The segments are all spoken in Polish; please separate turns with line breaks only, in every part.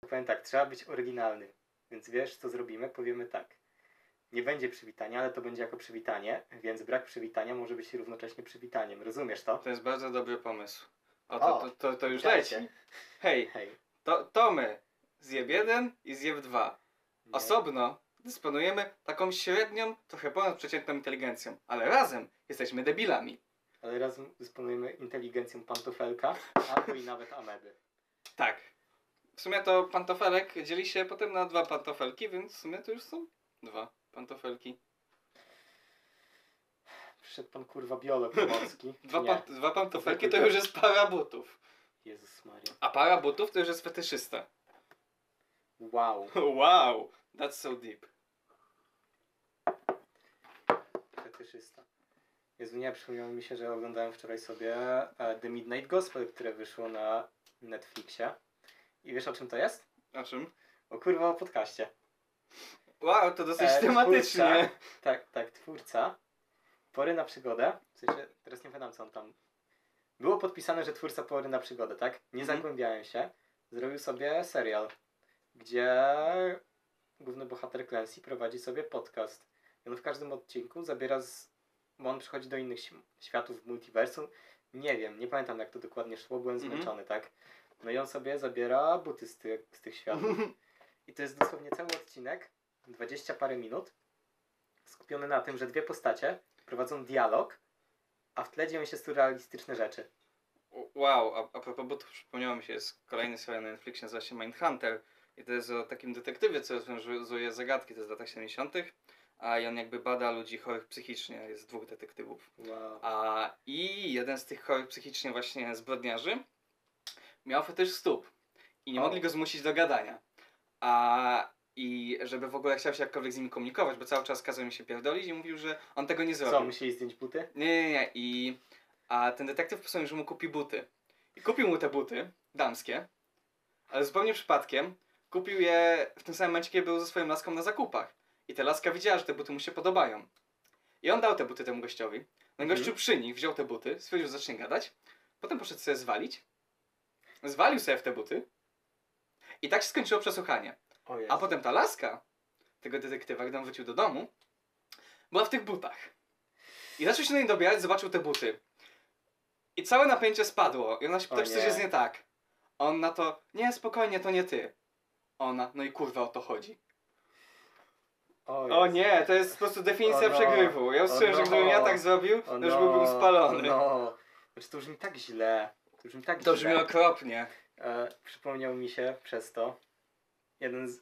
Powiem tak, trzeba być oryginalny. Więc wiesz, co zrobimy? Powiemy tak. Nie będzie przywitania, ale to będzie jako przywitanie, więc brak przywitania może być równocześnie przywitaniem. Rozumiesz to?
To jest bardzo dobry pomysł. O, to,
O,
to, to, to już
widziałeś
leci.
się.
Hej,
Hej.
to, to my. Zjeb jeden i zjeb dwa.
Nie.
Osobno dysponujemy taką średnią, trochę ponad przeciętną inteligencją, ale razem jesteśmy debilami.
Ale razem dysponujemy inteligencją pantofelka albo i nawet ameby.
Tak. W sumie to pantofelek dzieli się potem na dwa pantofelki, więc w sumie to już są dwa pantofelki.
Przyszedł pan kurwa biolog morski. czy
Dwa,
nie?
pan, dwa pantofelki to
Zwykły
już jest para butów.
Jezus Maria.
A para butów to już jest fetyszysta.
Wow.
Wow, that's so deep.
Fetyszysta. Jezu, nie, przypomniało mi się, że oglądałem wczoraj sobie e, The Midnight Gospel, które wyszło na Netflixie. I wiesz o czym to jest?
O czym?
O kurwa, o podcaście.
Wow, to dosyć
E,
tematycznie.
twórca. Tak, tak, twórca. Pory na przygodę. W sensie, teraz nie pamiętam co on tam. Było podpisane, że twórca pory na przygodę, tak? Nie
Mhm.
zagłębiałem się. Zrobił sobie serial, gdzie główny bohater Clancy prowadzi sobie podcast. I on w każdym odcinku zabiera z... Bo on przychodzi do innych śm- światów w multiversum. Nie wiem, nie pamiętam jak to dokładnie szło, byłem
Mhm.
zmęczony, tak? No i on sobie zabiera buty z, ty- z tych światów. I to jest dosłownie cały odcinek, 20 parę minut, skupiony na tym, że dwie postacie prowadzą dialog, a w tle dzieją się surrealistyczne rzeczy.
Wow, a, a propos butów, przypomniało mi się, jest kolejny serial na Netflixie, nazywa się Mindhunter. I to jest o takim detektywie, co rozwiązuje zagadki, to jest w latach 70. A i on jakby bada ludzi chorych psychicznie, jest dwóch detektywów.
Wow.
A i jeden z tych chorych psychicznie właśnie zbrodniarzy miał fetysz stóp i nie
O.
mogli go zmusić do gadania. A i żeby w ogóle chciał się jakkolwiek z nim komunikować, bo cały czas kazał mi się pierdolić i mówił, że on tego nie zrobił.
Co, musieli zdjąć buty?
Nie, nie, nie. I a ten detektyw postanowił, że mu kupi buty. I kupił mu te buty, damskie, ale zupełnie przypadkiem kupił je w tym samym momencie, kiedy był ze swoją laską na zakupach. I ta laska widziała, że te buty mu się podobają. I on dał te buty temu gościowi. Ten
Mhm.
gościu przy nich wziął te buty, stwierdził, że zacznie gadać. Potem poszedł sobie zwalić. Zwalił sobie w te buty. I tak się skończyło przesłuchanie.
O
A potem ta laska tego detektywa, gdy on wrócił do domu, była w tych butach. I zaczął się na niej dobierać, zobaczył te buty. I całe napięcie spadło. I ona się pyta,
O
czy
nie.
coś jest nie tak. On na to, nie, spokojnie, to nie ty. Ona, no i kurwa o to chodzi. O
o,
nie, to jest po prostu definicja
O no.
przegrywu. Ja usłyszałem, że
no.
gdybym ja tak zrobił,
o
to już byłbym spalony.
No. Znaczy, to brzmi tak źle. To brzmi tak
To
źle.
brzmi okropnie.
E, przypomniał mi się przez to jeden z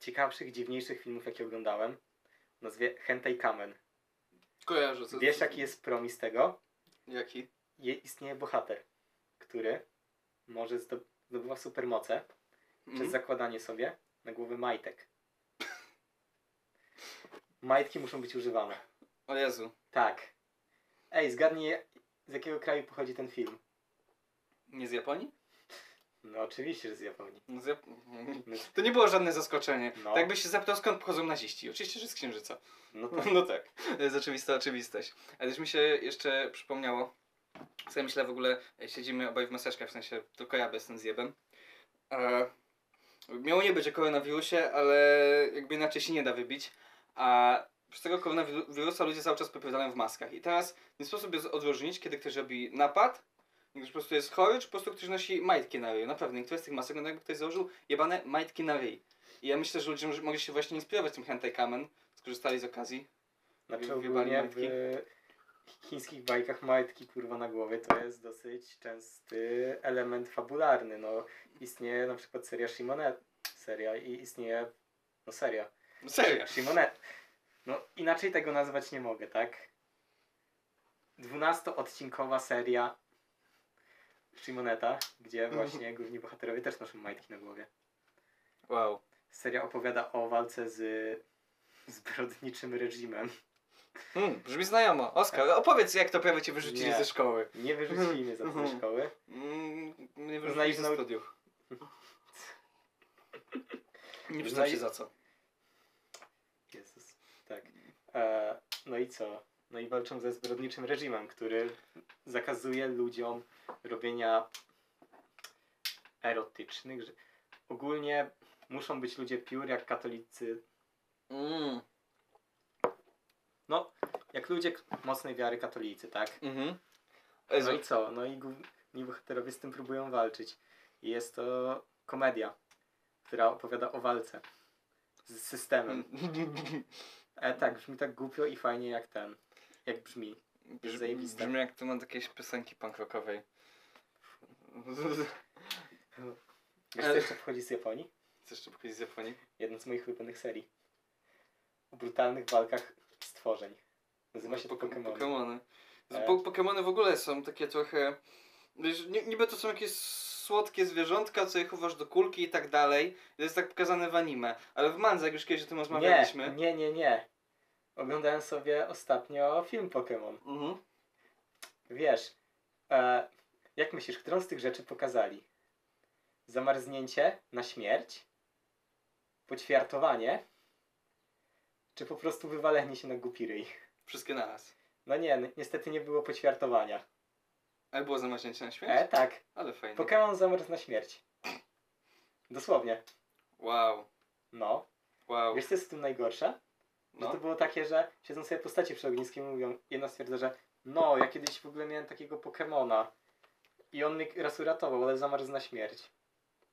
ciekawszych, dziwniejszych filmów, jakie oglądałem. O nazwie Hentai Kamen.
Kojarzę.
Wiesz, jaki jest promis tego?
Jaki?
je, istnieje bohater, który może zdo- zdobywa supermoce
Mhm.
przez zakładanie sobie na głowy majtek. Majtki muszą być używane.
O Jezu.
Tak. Ej, zgadnij, z jakiego kraju pochodzi ten film.
Nie z Japonii?
No oczywiście, że z Japonii.
No Z Jap- To nie było żadne zaskoczenie.
No.
Tak jakbyś się zapytał, skąd pochodzą naziści. Oczywiście, że z Księżyca.
No to
No tak, to jest oczywista oczywistość. Ale też mi się jeszcze przypomniało, sobie myślę w ogóle, e, siedzimy obaj w maseczkach, w sensie tylko ja bez ten zjebem. E, miało nie być o koronawirusie, ale jakby inaczej się nie da wybić. A przez tego koronawirusa ludzie cały czas popywają w maskach. I teraz nie sposób jest odróżnić, kiedy ktoś robi napad, ktoś po prostu jest chory, czy po prostu ktoś nosi majtki na ryj. Naprawdę, niektóre z tych masek, no jakby ktoś założył jebane majtki na ryj. I ja myślę, że ludzie może- mogli się właśnie inspirować tym hentai kamen, skorzystali z okazji.
znaczy
Wyjebali
ogólnie w
majtki.
chińskich bajkach majtki kurwa na głowie to jest dosyć częsty element fabularny. No istnieje na przykład seria Shimonet. Seria i istnieje, no seria.
No Serio.
Shimone. No inaczej tego nazwać nie mogę, tak? 12-odcinkowa seria Shimoneta, gdzie właśnie główni bohaterowie też noszą majtki na głowie.
Wow.
Seria opowiada o walce z zbrodniczym reżimem.
Hmm, brzmi znajomo. Oskar, opowiedz jak to prawie cię wyrzucili
Nie.
ze szkoły.
Nie wyrzucili mnie za to ze szkoły.
Mm, nie
Znaj-
wyrzucili ze
nau-
studiów. Nie przyznam
Znaj-
się za co.
Jezus, tak. E, no i co? No i walczą ze zbrodniczym reżimem, który zakazuje ludziom robienia erotycznych, że... ogólnie muszą być ludzie piór jak katolicy.
Mm.
No, jak ludzie k- mocnej wiary katolicy, tak?
Mhm.
No i co? No i główni bohaterowie z tym próbują walczyć. I jest to komedia, która opowiada o walce z systemem.
Hmm.
E tak, brzmi tak głupio i fajnie jak ten. Jak brzmi.
Brz-
Zajebiste.
Brzmi jak temat jakiejś piosenki punk rockowej.
Wiesz co jeszcze wchodzi z Japonii?
Chcesz szybko z Japonii?
Jedna z moich ulubionych serii. O brutalnych walkach stworzeń. Nazywa się to
Poko-
Pokémon.
Pokemony.
E.
Po- Pokemony w ogóle są takie trochę... Wiesz, ni- niby to są jakieś słodkie zwierzątka, co je chowasz do kulki i tak dalej. To jest tak pokazane w anime. Ale w manze, jak już kiedyś o tym
Nie,
rozmawialiśmy...
nie, nie, nie. Oglądałem sobie ostatnio film Pokémon.
Mhm.
Wiesz, e, jak myślisz, którą z tych rzeczy pokazali? Zamarznięcie na śmierć? Poćwiartowanie? Czy po prostu wywalenie się na głupi ryj?
Wszystkie naraz.
No nie, ni- niestety nie było poćwiartowania.
Ale było zamaźnięcie na śmierć?
E, tak.
Ale fajnie.
Pokémon zamarzł na śmierć. Dosłownie.
Wow.
No.
Wow.
Wiesz, co jest w tym najgorsze? Że
No.
to było takie, że siedzą sobie postacie przy ogniskiem i mówią, jedna stwierdza, że no, ja kiedyś w ogóle miałem takiego Pokemona i on mnie raz uratował, ale zamarzł na śmierć.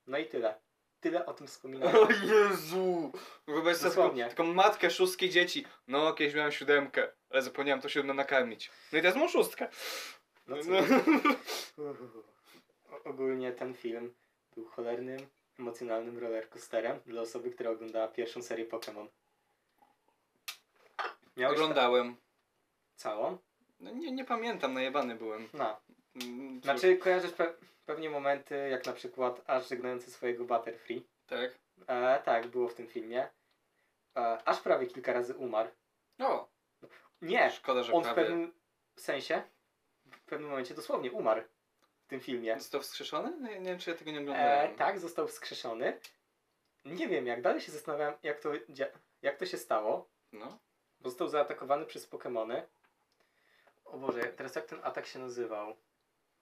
No i tyle. Tyle o tym wspominałem.
O Jezu! Wyobraź sobie taką,
Dosłownie.
taką matkę szóstki dzieci. No, kiedyś miałem siódemkę, ale zapomniałem to siódme nakarmić. No i teraz mam szóstkę.
No co?
No.
Uuu. O- Ogólnie ten film był cholernym, emocjonalnym rollercoasterem dla osoby, która oglądała pierwszą serię Pokemon. Miałeś ta-
Oglądałem.
całą?
No, nie, nie pamiętam, najebany byłem.
No.
Mm,
Znaczy kojarzysz pe- pewnie momenty, jak na przykład aż żegnający swojego Butterfree.
Tak.
E, tak, było w tym filmie. E, aż prawie kilka razy umarł.
No,
Nie,
szkoda, że
on w
prawie.
pewnym sensie, w pewnym momencie dosłownie umarł w tym filmie.
Został wskrzeszony? No, nie wiem, czy ja tego nie oglądałem.
E, tak, został wskrzeszony. Nie wiem, jak dalej się zastanawiam, jak to, dzia- jak to się stało.
No.
Bo został zaatakowany przez Pokemony. O Boże, teraz jak ten atak się nazywał?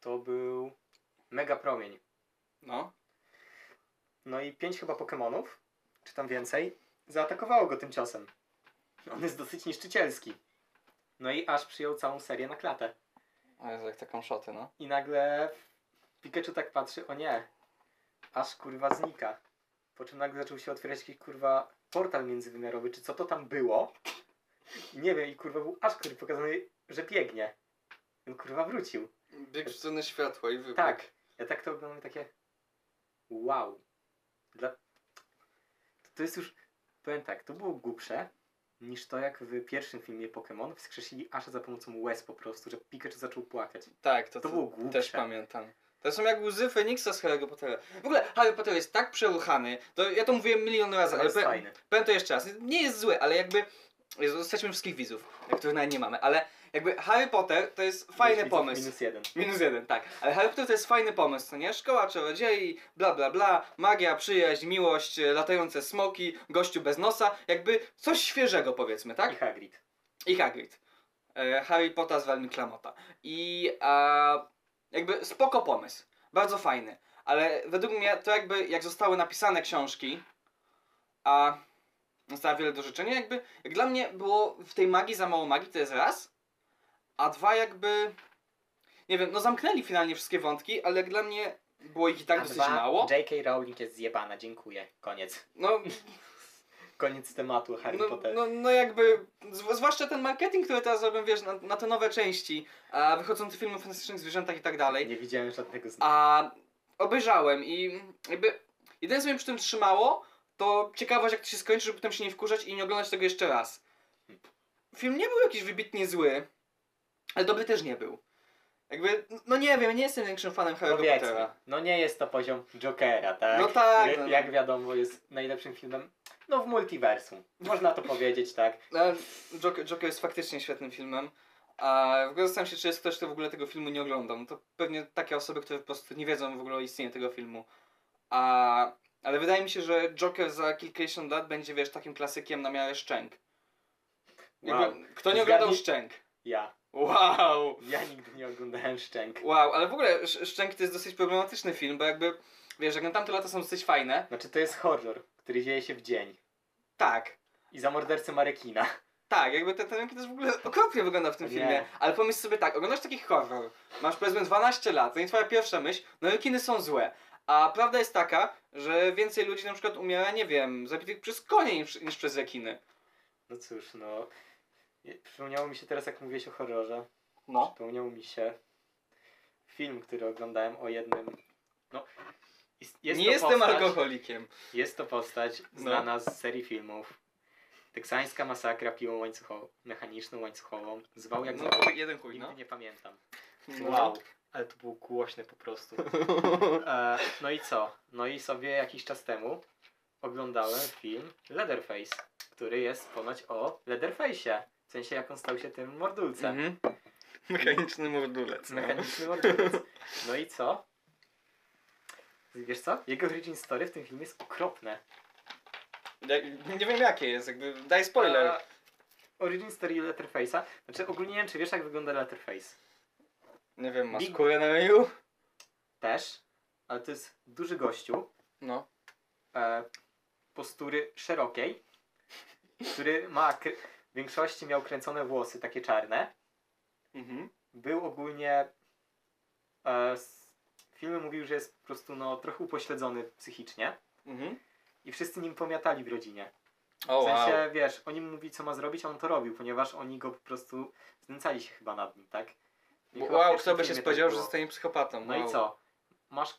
To był Mega Promień.
No.
No i pięć chyba Pokemonów, czy tam więcej, zaatakowało go tym ciosem. On jest dosyć niszczycielski. No i aż przyjął całą serię na klatę.
A jest jak taką szoty, no.
I nagle Pikachu tak patrzy, o nie, aż kurwa znika. Po czym nagle zaczął się otwierać jakiś kurwa portal międzywymiarowy, czy co to tam było. Nie wiem, i kurwa był aż który pokazany, że biegnie. On kurwa wrócił.
Bieg w stronę światła i wybuch.
Tak. Ja tak to oglądam i takie. Wow. Dla... To jest już. Powiem tak, to było głupsze niż to, jak w pierwszym filmie Pokémon wskrzesili Asha za pomocą łez po prostu, że Pikachu zaczął płakać.
Tak, to,
To było głupsze.
Też pamiętam. To są jak łzy Feniksa z Harry'ego Pottera. W ogóle Harry Potter jest tak przeruchany, to ja to mówiłem milion razy,
Ale
ale
jest
pe-
fajny.
powiem to jeszcze raz. Nie jest zły, ale jakby... Jezu, Zostaćmy wszystkich widzów, których nawet nie mamy, ale jakby Harry Potter to jest fajny
Widzów
pomysł. Minus...
Minus jeden.
jeden, tak. Ale Harry Potter to jest fajny pomysł, co nie? Szkoła czarodziei, bla bla bla, magia, przyjaźń, miłość, e, latające smoki, gościu bez nosa, jakby coś świeżego powiedzmy, tak?
I Hagrid.
I Hagrid. E, Harry Potter z Walmi Klamota. I a, jakby spoko pomysł. Bardzo fajny. Ale według mnie to jakby jak zostały napisane książki, a została wiele do życzenia, jakby jak dla mnie było w tej magii za mało magii, to jest raz. A dwa jakby, nie wiem, no zamknęli finalnie wszystkie wątki, ale jak dla mnie było ich i tak
A
dosyć
dwa,
mało.
J.K. Rowling jest zjebana, dziękuję. Koniec.
No,
Koniec tematu Harry
no,
Potter.
no, no jakby, zw- zwłaszcza ten marketing, który teraz robią, wiesz, na, na te nowe części, a wychodzące filmy o fantastycznych zwierzętach i tak dalej,
Nie widziałem żadnego z
a obejrzałem i jakby jedyne co mnie przy tym trzymało, to ciekawość jak to się skończy, żeby potem się nie wkurzać i nie oglądać tego jeszcze raz. Film nie był jakiś wybitnie zły, ale dobry też nie był. Jakby, no nie wiem, nie jestem większym fanem Harry'ego
Powiedzmy,
Pottera.
no nie jest to poziom Jokera, tak?
No tak,
Który,
no.
Jak wiadomo, jest najlepszym filmem, no w multiversum. Można to powiedzieć, tak?
Ale No, Joker, Joker jest faktycznie świetnym filmem. A w ogóle zastanawiam się, czy jest ktoś, kto w ogóle tego filmu nie oglądał. No to pewnie takie osoby, które po prostu nie wiedzą w ogóle o istnieniu tego filmu. A, ale wydaje mi się, że Joker za kilkadziesiąt lat będzie, wiesz, takim klasykiem na miarę Szczęk. Jakby,
Wow.
Kto nie oglądał
Zgadnij-
Szczęk?
Ja.
Wow!
Ja nigdy nie oglądałem Szczęk.
Wow, ale w ogóle Sz- Szczęk to jest dosyć problematyczny film, bo jakby Wiesz, jak na tamte lata są dosyć fajne.
Znaczy to jest horror, który dzieje się w dzień.
Tak,
I za mordercę Marekina.
tak, jakby ten ten też w ogóle okropnie wygląda w tym
Nie.
filmie. Ale pomyśl sobie tak, oglądasz taki horror, masz powiedzmy 12 lat, to nie twoja pierwsza myśl, no i kiny są złe. A prawda jest taka, że więcej ludzi na przykład umiera, nie wiem, zabitych przez konie niż, niż przez rekiny.
No cóż, no. Je- Przypomniało mi się teraz, jak mówiłeś o horrorze.
No.
Przypomniał mi się film, który oglądałem o jednym. No. Jest, jest
nie
to
jestem
postać,
alkoholikiem.
Jest to postać
No.
znana z serii filmów. Teksańska masakra piłą łańcuchową, mechaniczną łańcuchową. Zwał jak
No,
zwał.
jeden chuj,
Nigdy
no.
nie pamiętam.
No.
Wow. Ale to było głośne po prostu.
Mhm.
E, no i co? No i sobie jakiś czas temu oglądałem film Leatherface, który jest ponoć o Leatherface'ie. W sensie jak on stał się tym mordulcem.
Mhm. Mechaniczny mordulec. no.
Mechaniczny mordulec. No i co? Wiesz co? Jego origin story w tym filmie jest okropne.
Jak, nie wiem jakie jest, jakby daj spoiler.
A Origin story Leatherface'a. Znaczy ogólnie nie wiem, czy wiesz jak wygląda Leatherface.
nie wiem, masz
Big-
kurę na mailu?
Też. Ale to jest duży gościu.
No.
e, postury szerokiej, który ma kr- w większości miał kręcone włosy, takie czarne.
Mhm.
Był ogólnie. E, s- film mówił, że jest po prostu no, trochę upośledzony psychicznie
Mhm.
i wszyscy nim pomiatali w rodzinie.
O,
W
wow.
sensie, wiesz, oni mu mówili, co ma zrobić, a on to robił, ponieważ oni go po prostu znęcali się chyba nad nim, tak? I
Bo-
chyba w
Wow,
pierwszym
kto by się
filmie tak
spodziewał, że
było.
zostanie psychopatą.
No
wow.
i co? Masz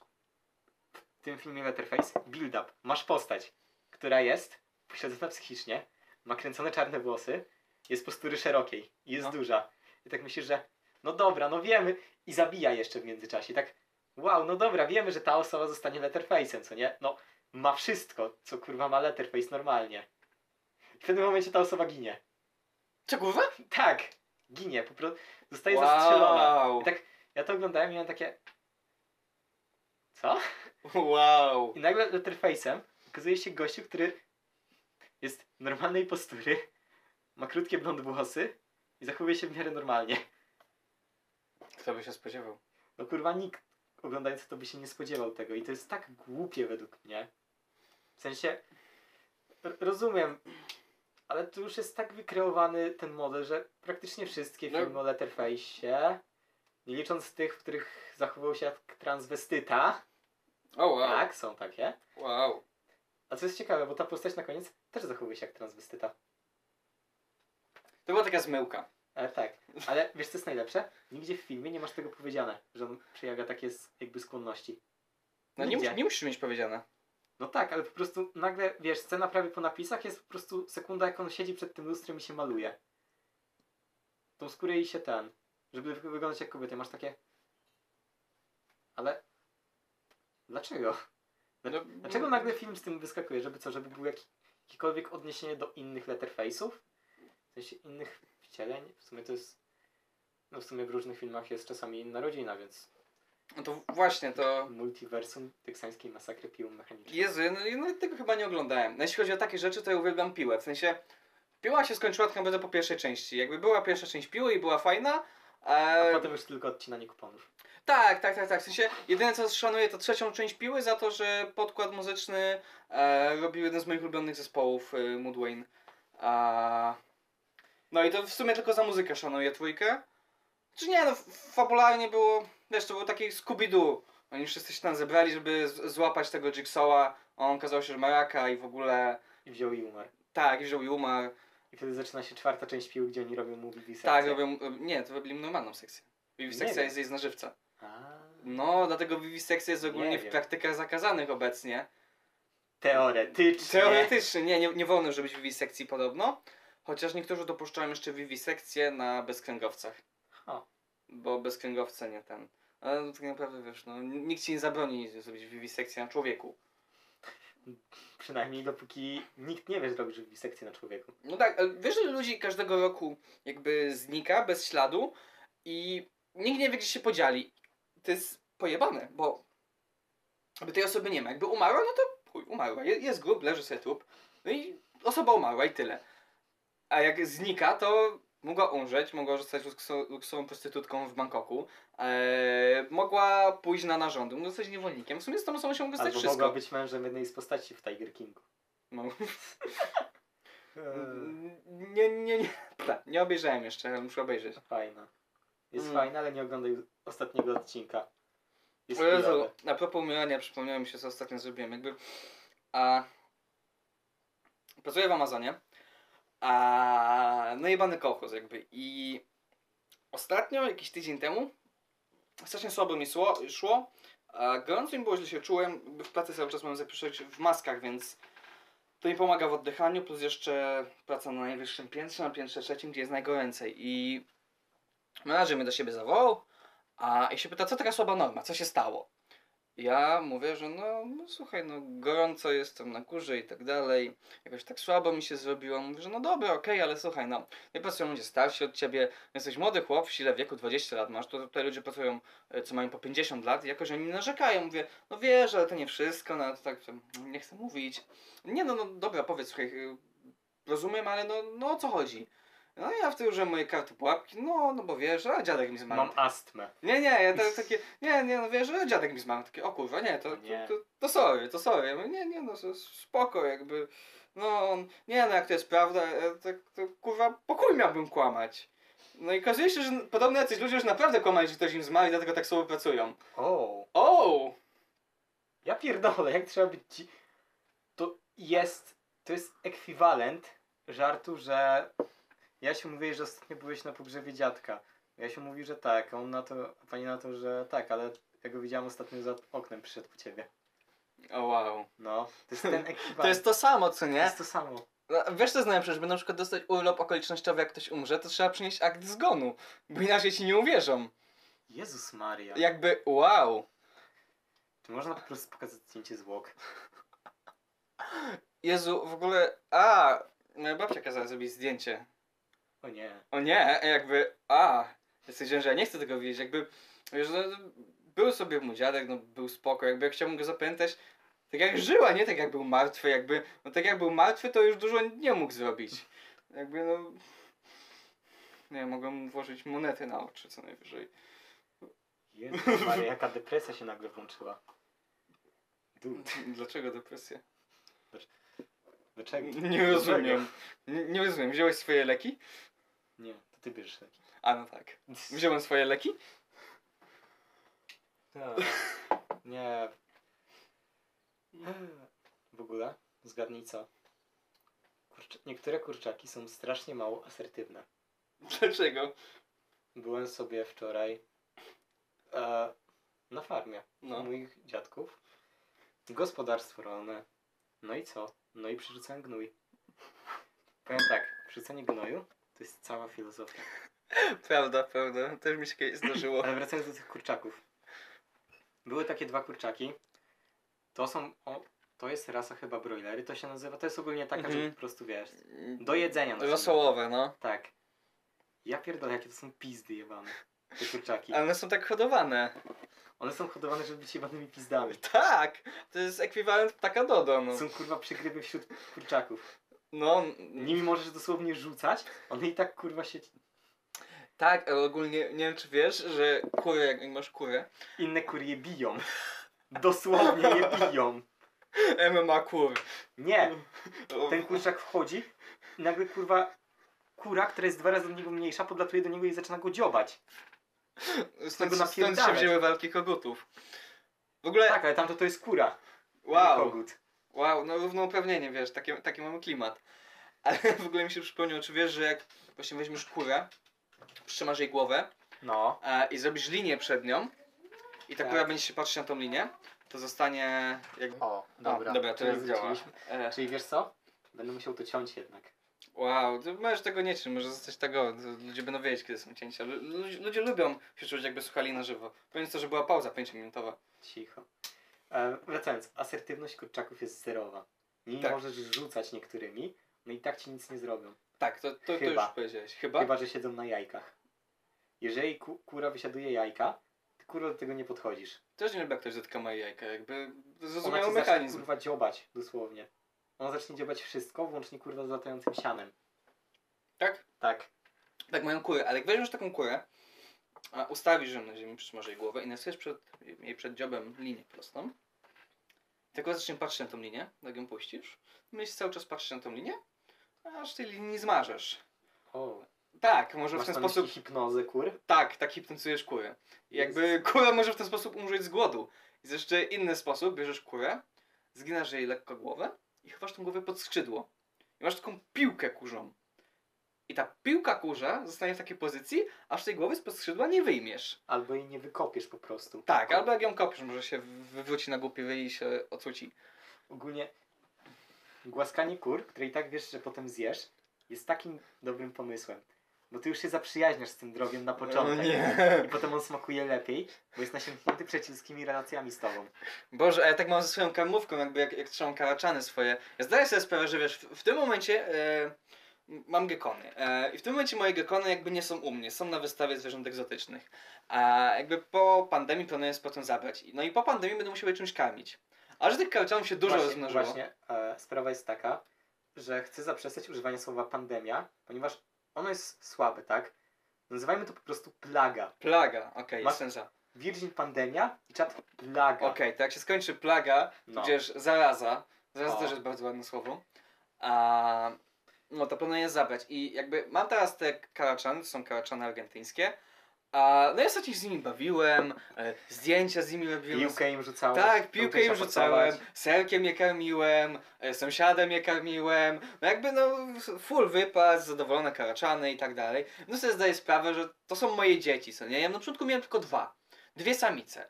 w tym filmie Letterface build-up. Masz postać, która jest posiadana psychicznie, ma kręcone czarne włosy, jest postury szerokiej i jest
No.
duża. I tak myślisz, że no dobra, no wiemy i zabija jeszcze w międzyczasie. I tak wow, no dobra, wiemy, że ta osoba zostanie Letterface'em, co nie? No ma wszystko, co kurwa ma Letterface normalnie. I w pewnym momencie ta osoba ginie.
Co kurwa?
Tak, ginie, po prostu zostaje zastrzelona. I tak ja to oglądałem i miałem takie. Co?
Wow.
I nagle Letterface'em okazuje się gościu, który jest normalnej postury, ma krótkie blond włosy i zachowuje się w miarę normalnie.
Kto by się spodziewał?
No kurwa, nikt oglądający to by się nie spodziewał tego i to jest tak głupie według mnie. W sensie, r- rozumiem, ale tu już jest tak wykreowany ten model, że praktycznie wszystkie
No.
filmy o Letterface'ie, nie licząc tych, w których zachowywał się jak transwestyta,
O, wow.
Tak, są takie.
Wow.
A co jest ciekawe, bo ta postać na koniec też zachowuje się jak transwestyta.
To była taka zmyłka.
Ale tak. Ale wiesz co jest najlepsze? Nigdzie w filmie nie masz tego powiedziane, że on przejawia takie s- jakby skłonności.
No nie,
Nigdzie.
mus- nie musisz mieć powiedziane.
No tak, ale po prostu nagle, wiesz, scena prawie po napisach jest po prostu sekunda, jak on siedzi przed tym lustrem i się maluje. Tą skórę jej się ten. Żeby wy- wyglądać jak kobieta, masz takie... Ale... Dlaczego?
No,
Dlaczego nagle film z tym wyskakuje? Żeby co, żeby było jak, jakiekolwiek odniesienie do innych letterface'ów? W sensie innych wcieleń? W sumie to jest... No w sumie w różnych filmach jest czasami inna rodzina, więc...
No to właśnie, to...
Multiversum teksańskiej masakry piłą mechaniczną.
Jezu, ja, no, ja nawet tego chyba nie oglądałem. No, jeśli chodzi o takie rzeczy, to ja uwielbiam piłę. W sensie, piła się skończyła tak naprawdę po pierwszej części. Jakby była pierwsza część piły i była fajna,
A
e,
potem już tylko odcinanie kuponów.
Tak, tak, tak, tak. W sensie jedyne co szanuję to trzecią część piły za to, że podkład muzyczny e, robił jeden z moich ulubionych zespołów e, Moodwayne. A, no i to w sumie tylko za muzykę szanuję trójkę. Czy nie, no f- fabularnie było, wiesz, to był taki Scooby-Doo. Oni wszyscy się tam zebrali, żeby z- złapać tego Jigsaw'a. On okazało się, że ma raka i w ogóle
I wziął i umarł.
tak, i wziął i umarł.
I wtedy zaczyna się czwarta część piły, gdzie oni robią mu vivisekcję.
Tak, robią, nie, to robili normalną sekcję. I sekcja
wiem.
jest jej z nażywca.
A,
No, dlatego wiwisekcja jest
Nie
ogólnie w
wiem.
praktykach zakazanych obecnie.
Teoretycznie.
Teoretycznie nie, nie, nie wolno robić wiwisekcji podobno, chociaż niektórzy dopuszczają jeszcze wiwisekcję na bezkręgowcach,
O,
bo bezkręgowce nie ten. Ale no, tak naprawdę wiesz, no, nikt ci nie zabroni zrobić wiwisekcji na człowieku.
przynajmniej dopóki nikt nie wie zrobić wiwisekcję na człowieku.
No tak, ale wiesz, że ludzi każdego roku jakby znika bez śladu i nikt nie wie, gdzie się podzieli. To jest pojebane, bo jakby tej osoby nie ma. Jakby umarła, no to chuj, umarła. Je- Jest grób, leży sobie trup. No i osoba umarła i tyle. A jak znika, to Mogła umrzeć, mogła zostać luksu- luksusową prostytutką w Bangkoku, e, mogła pójść na narządy, mogła zostać niewolnikiem. W sumie z tą osobą się mogło stać
Albo
No, tak wszystko.
mogła być mężem jednej z postaci w Tiger Kingu.
No.
Eee,
Nie, nie, nie. Ta, nie obejrzałem jeszcze, ale muszę obejrzeć.
Fajna. Jest
Mm.
fajna, ale nie oglądaj ostatniego odcinka. Jest
O Jezu,
chujowe.
a propos umierania, przypomniałem mi się, co ostatnio zrobiłem. Jakby. A. Pracuję w Amazonie. A. No jebany kołchoz, jakby. I. Ostatnio, jakiś tydzień temu, strasznie słabo mi szło. szło. A gorąco mi było, źle się czułem. Jakby W pracy cały czas mam zapiszeć w maskach, więc. To mi pomaga w oddychaniu, plus jeszcze praca na najwyższym piętrze, na piętrze trzecim, gdzie jest najgoręcej. I menadżer mnie do siebie zawołał, a i się pyta, co taka słaba norma, co się stało? Ja mówię, że no, no słuchaj, no gorąco jestem na górze i tak dalej. Jakoś tak słabo mi się zrobiło. Mówię, że no dobra, okej, ale słuchaj, no, nie pracują ludzie starsi od ciebie. Jesteś młody chłop w sile wieku 20 lat masz. To tutaj ludzie pracują, e, co mają po 50 lat i jakoś oni narzekają. Mówię, no wiesz, ale to nie wszystko, no to tak to nie chcę mówić. Nie no, no dobra, powiedz, słuchaj, e, rozumiem, ale no, no o co chodzi? No ja w tym, że moje karty pułapki, no, no bo wiesz, a dziadek mi zmarł.
Mam astmę.
Nie, nie, ja tak, takie, nie, nie, no wiesz, że dziadek mi zmarł, takie, o kurwa, nie, to,
Nie.
to, to, to sorry, to sorry, ja mówię, nie, nie, no to spoko, jakby, no, on, nie, no jak to jest prawda, e, tak, to kurwa, pokój miałbym kłamać. No i okazuje się, że podobno jacyś ludzie już naprawdę kłamali, że ktoś im zmarł i dlatego tak słabo pracują.
O,
O!
ja pierdolę, jak trzeba być ci... To jest, to jest ekwiwalent żartu, że ja się mówię, że ostatnio byłeś na pogrzebie dziadka. Ja się mówi, że tak, a on na to, a pani na to, że tak, ale ja go widziałam ostatnio za oknem, przyszedł po ciebie.
O wow.
No, to jest ten ekwiwalent.
To jest to samo, co
to
nie?
jest to samo.
No, Wiesz co znają, żeby na przykład dostać urlop okolicznościowy, jak ktoś umrze, to trzeba przynieść akt zgonu, bo inaczej ci nie uwierzą.
Jezus Maria.
Jakby, wow.
Czy można po prostu pokazać zdjęcie zwłok?
Jezu, w ogóle. A! Moja babcia kazała zrobić zdjęcie.
O nie.
O nie, jakby. A! Ja Stwierdziłem, że ja nie chcę tego widzieć. Jakby. Wiesz, no, był sobie mój dziadek, no był spoko. Jakby ja chciałbym go zapamiętać. Tak jak żyła, nie tak jak był martwy, jakby. No tak jak był martwy, to już dużo nie mógł zrobić. Jakby no. Nie, mogłem mu włożyć monety na oczy co najwyżej.
Jezus Maria, jaka depresja się nagle włączyła. Dude,
Dlaczego depresja?
Tak, dlaczego?
Nie rozumiem. Nie, nie rozumiem. Wziąłeś swoje leki?
Nie, to ty bierzesz taki.
A no tak. Wziąłem swoje leki?
Tak. Nie. W ogóle, zgadnij co. Kurcz... Niektóre kurczaki są strasznie mało asertywne.
Dlaczego?
Byłem sobie wczoraj e, na farmie
No.
moich dziadków. Gospodarstwo rolne. No i co? No i przerzucałem gnój. Powiem tak, przerzucanie gnoju to jest cała filozofia.
Prawda, prawda. Też mi się kiedyś zdarzyło.
Ale wracając do tych kurczaków. Były takie dwa kurczaki. To są. O, to jest rasa chyba broilery, to się nazywa. To jest ogólnie taka, że
Mhm.
po prostu wiesz. Do jedzenia na
Rosołowe, no.
Tak. Ja pierdolę, jakie to są pizdy jebane. Te kurczaki.
Ale one są tak hodowane.
One są hodowane, żeby być jebanymi pizdami.
Tak! To jest ekwiwalent ptaka dodo, no.
Są kurwa przegrywy wśród kurczaków.
No,
Nimi możesz dosłownie rzucać, one i tak kurwa się.
tak, ale ogólnie nie wiem czy wiesz, że kurę, jak jak masz kurę,
Inne kurie biją. Dosłownie je biją.
MMA kur.
Nie,
O,
ten kurczak wchodzi i nagle kurwa kura, która jest dwa razy od niego mniejsza, podlatuje do niego i zaczyna go dziobać.
Stąd,
tego
stąd się
napierdalać.
wzięły walki kogutów. W ogóle,
Tak, ale tamto to jest kura. nie
wow,
Kogut.
wow, no równouprawnienie, wiesz, taki, taki mamy klimat. Ale w ogóle mi się przypomniał, czy wiesz, że jak właśnie weźmiesz kurę, trzymasz jej głowę,
No.
e, i zrobisz linię przed nią i ta
Tak.
kura będzie się patrzeć na tą linię, to zostanie jak...
O,
A, dobra, teraz
Czyli
działa.
zaczęliśmy.
E,
Czyli wiesz co? Będę musiał to ciąć jednak.
wow, ty możesz tego nie czuć, może zostać tego, to ludzie będą wiedzieć, kiedy są cięcia. Lu- Ludzie, ludzie lubią się czuć, jakby słuchali na żywo. Powiedz to, że była pauza 5-minutowa.
Cicho. E, wracając, asertywność kurczaków jest zerowa. Nimi
Tak.
możesz rzucać niektórymi, no i tak ci nic nie zrobią.
Tak, to, to, to już
Chyba.
powiedziałeś. Chyba?
Chyba, że siedzą na jajkach. Jeżeli ku, kura wysiaduje jajka, ty kuro do tego nie podchodzisz.
Też nie lubię, jak ktoś dotyka moje jajka, jakby
Ona
zrozumiały
cię zacznie
mechanizm.
kurwa dziobać, dosłownie. Ona zacznie dziobać wszystko, włącznie kurwa z latającym sianem.
Tak?
Tak.
Tak, mają kurę, ale jak weźmiesz taką kurę, a ustawisz ją na ziemi, przytrzymasz jej głowę i narysujesz przed, jej przed dziobem linię prostą. Tylko zacznie patrzeć na tą linię, jak ją puścisz. Myślisz cały czas patrzeć na tą linię, aż tej linii nie zmarzesz.
O,
Tak, może
masz
w ten
tam
sposób.
sposób... hipnozę kur?
Tak, tak hipnotyzujesz kurę. I Jakby kura może w ten sposób umrzeć z głodu. Jest jeszcze inny sposób, bierzesz kurę, zginasz jej lekko głowę i chowasz tą głowę pod skrzydło. I masz taką piłkę kurzą. I ta piłka kurza zostanie w takiej pozycji, aż tej głowy spod skrzydła nie wyjmiesz.
Albo jej nie wykopiesz po prostu.
Tak, albo jak ją kopiesz, może się wywróci na głupiej i się ocuci.
Ogólnie głaskanie kur, które i tak wiesz, że potem zjesz, jest takim dobrym pomysłem. Bo ty już się zaprzyjaźniasz z tym drogiem na początek.
No nie.
I potem on smakuje lepiej, bo jest nasiąknięty przyjacielskimi relacjami z tobą.
Boże, a ja tak mam ze swoją karmówką, jakby jak, jak trzymam karaczany swoje. Ja zdaję sobie sprawę, że wiesz, w, w tym momencie e, mam gekony. E, I w tym momencie moje gekony jakby nie są u mnie, są na wystawie zwierząt egzotycznych. A jakby po pandemii planuję z potem zabrać. No i po pandemii będę musiał je czymś karmić. A że tych karczanów się dużo
właśnie,
rozmnożyło.
Właśnie, e, sprawa jest taka, że chcę zaprzestać używania słowa pandemia, ponieważ ono jest słabe, tak? Nazywajmy to po prostu plaga.
Plaga, okej,
Masz-
jest jestem za.
Virgin pandemia i czat plaga.
Okej, to jak się skończy plaga,
No.
tudzież zaraza, zaraza
O.
też jest bardzo ładne słowo, a, no to planuję zabrać. I jakby mam teraz te karaczany, to są karaczany argentyńskie, a, no ja się z nimi bawiłem, e, zdjęcia z nimi robiłem.
Piłkę im rzucałem.
Tak, piłkę im rzucałem, serkiem je karmiłem, e, sąsiadem je karmiłem, no jakby no full wypas, zadowolone karaczany i tak dalej. No sobie zdaję sprawę, że to są moje dzieci, co nie? Ja na początku miałem tylko dwa, dwie samice.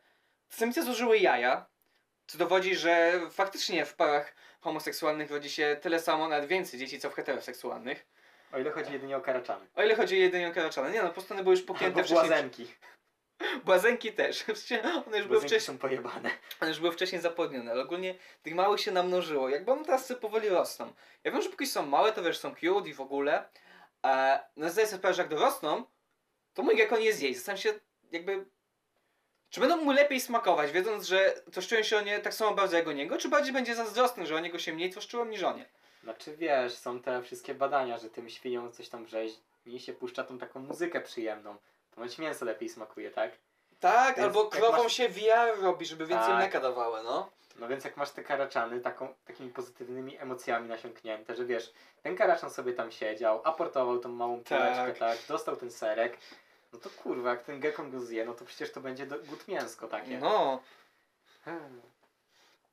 Samice złożyły jaja, co dowodzi, że faktycznie w parach homoseksualnych rodzi się tyle samo, nawet więcej dzieci, co w heteroseksualnych.
O ile chodzi jedynie o karaczany.
O ile chodzi jedynie o karaczane, nie no, po prostu one były już pokęte
Albo błazenki.
Błazenki też, Przecież one już były
Błazenki
wcześniej.
są pojebane.
One już były wcześniej zapłodnione, ale ogólnie tych małych się namnożyło. Jakby one teraz sobie powoli rosną. Ja wiem, że póki są małe, to wiesz, są cute i w ogóle. E, no zdaję sobie sprawę, że jak dorosną, to mój gekon je zjeść. Zastanawiam się, jakby... Czy będą mu lepiej smakować, wiedząc, że troszczyłem się o nie tak samo bardzo jak o niego, czy bardziej będzie zazdrosny, że o niego się mniej troszczyłem niż o nie?
Znaczy wiesz, są te wszystkie badania, że tym świniom coś tam rzeźni się puszcza tą taką muzykę przyjemną. Ponoć mięso lepiej smakuje, tak?
Tak,
Więc
albo
jak
krową
masz-
się VR robi, żeby więcej
Tak.
mleka dawały, no.
No więc jak masz te karaczany taką, takimi pozytywnymi emocjami nasiąknięte, że wiesz, ten karaczan sobie tam siedział, aportował tą małą piłeczkę,
Tak.
tak, dostał ten serek, no to kurwa, jak ten gekon go zje, no to przecież to będzie do, gut mięsko takie.
No,
Hmm.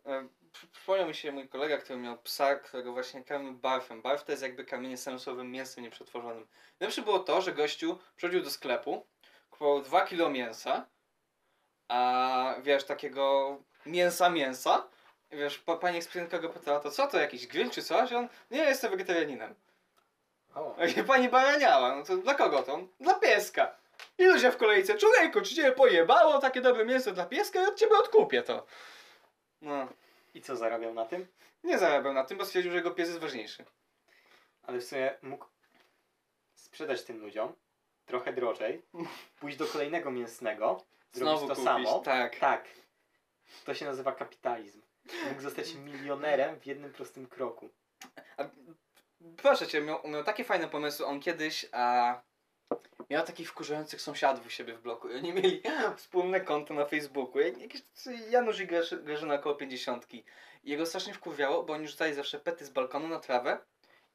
E, przy- Przypomniał mi się mój kolega, który miał psa, którego właśnie karmił barfem. Barf to jest jakby kamienie senusowym mięsem nieprzetworzonym. Najlepsze było to, że gościu przychodził do sklepu, kupował 2 kilo mięsa, a wiesz, takiego mięsa mięsa. I Wiesz, pa, pani ekspedientka go pytała, to co to, jakiś grill czy coś? I on, nie, ja jestem wegetarianinem.
O,
A jak pani baraniała, no to dla kogo to? Dla pieska. I ludzie w kolejce, człowieku, czy cię pojebało takie dobre mięso dla pieska? Ja od ciebie odkupię to. No.
i co zarabiał na tym?
Nie zarabiał na tym, bo stwierdził, że jego pies jest ważniejszy.
Ale w sumie mógł sprzedać tym ludziom trochę drożej, pójść do kolejnego mięsnego, zrobić to samo.
Tak.
Tak. To się nazywa kapitalizm. Mógł zostać milionerem w jednym prostym kroku.
A, proszę cię, miał, miał takie fajne pomysły. On kiedyś a, miał takich wkurzających sąsiadów u siebie w bloku i oni mieli wspólne konto na Facebooku. Jak- Jakiś Janusz i Graż- Grażyna około 50. I Jego strasznie wkurwiało, bo oni rzucali zawsze pety z balkonu na trawę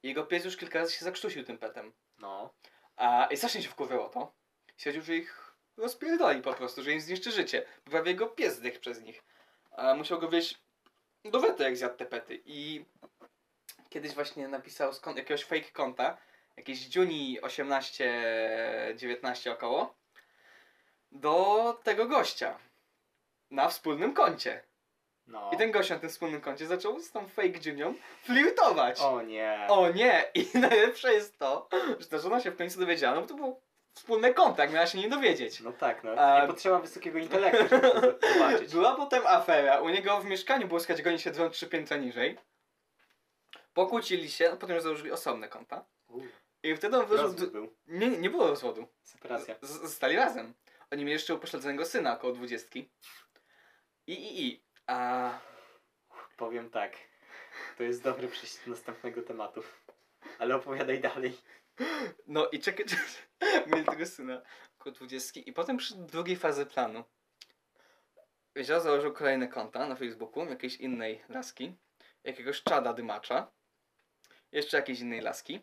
i jego pies już kilka razy się zakrztusił tym petem.
No.
A, I strasznie się wkurwiało to. Siedził, że ich rozpierdoli po prostu, że im zniszczy życie. Bo Prawie jego pies zdechł przez nich. A, musiał go wieźć do wety, jak zjadł te pety. I kiedyś właśnie napisał z kon- jakiegoś fake konta, jakieś dziuni 18-19 około, do tego gościa. Na wspólnym koncie.
No.
I ten gość na tym wspólnym koncie zaczął z tą fake dziunią flirtować.
O nie.
O nie! I najlepsze jest to, że ta żona się w końcu dowiedziała, no bo to był wspólny kontakt, miała się nie dowiedzieć.
No tak, no.
A-
Nie potrzeba wysokiego
Tak,
intelektu, żeby to z- zobaczyć.
Była potem afera, u niego w mieszkaniu błyskać goni się dron trzy piętra niżej. Pokłócili się, potem już założyli osobne konta.
U,
I wtedy on wyszedł...
Rozwód był.
Nie, nie było rozwodu.
Separacja.
Z- Zostali razem. Oni mieli jeszcze upośledzonego syna około dwudziestki. I, i, i. A...
Powiem tak. To jest dobry przejście do następnego tematu. Ale opowiadaj dalej.
No i czekaj, czekaj. mieli tego syna około 20 i potem przy drugiej fazy planu. Wiedział, założył kolejne konta na Facebooku jakiejś innej laski, jakiegoś czada dymacza, jeszcze jakiejś innej laski,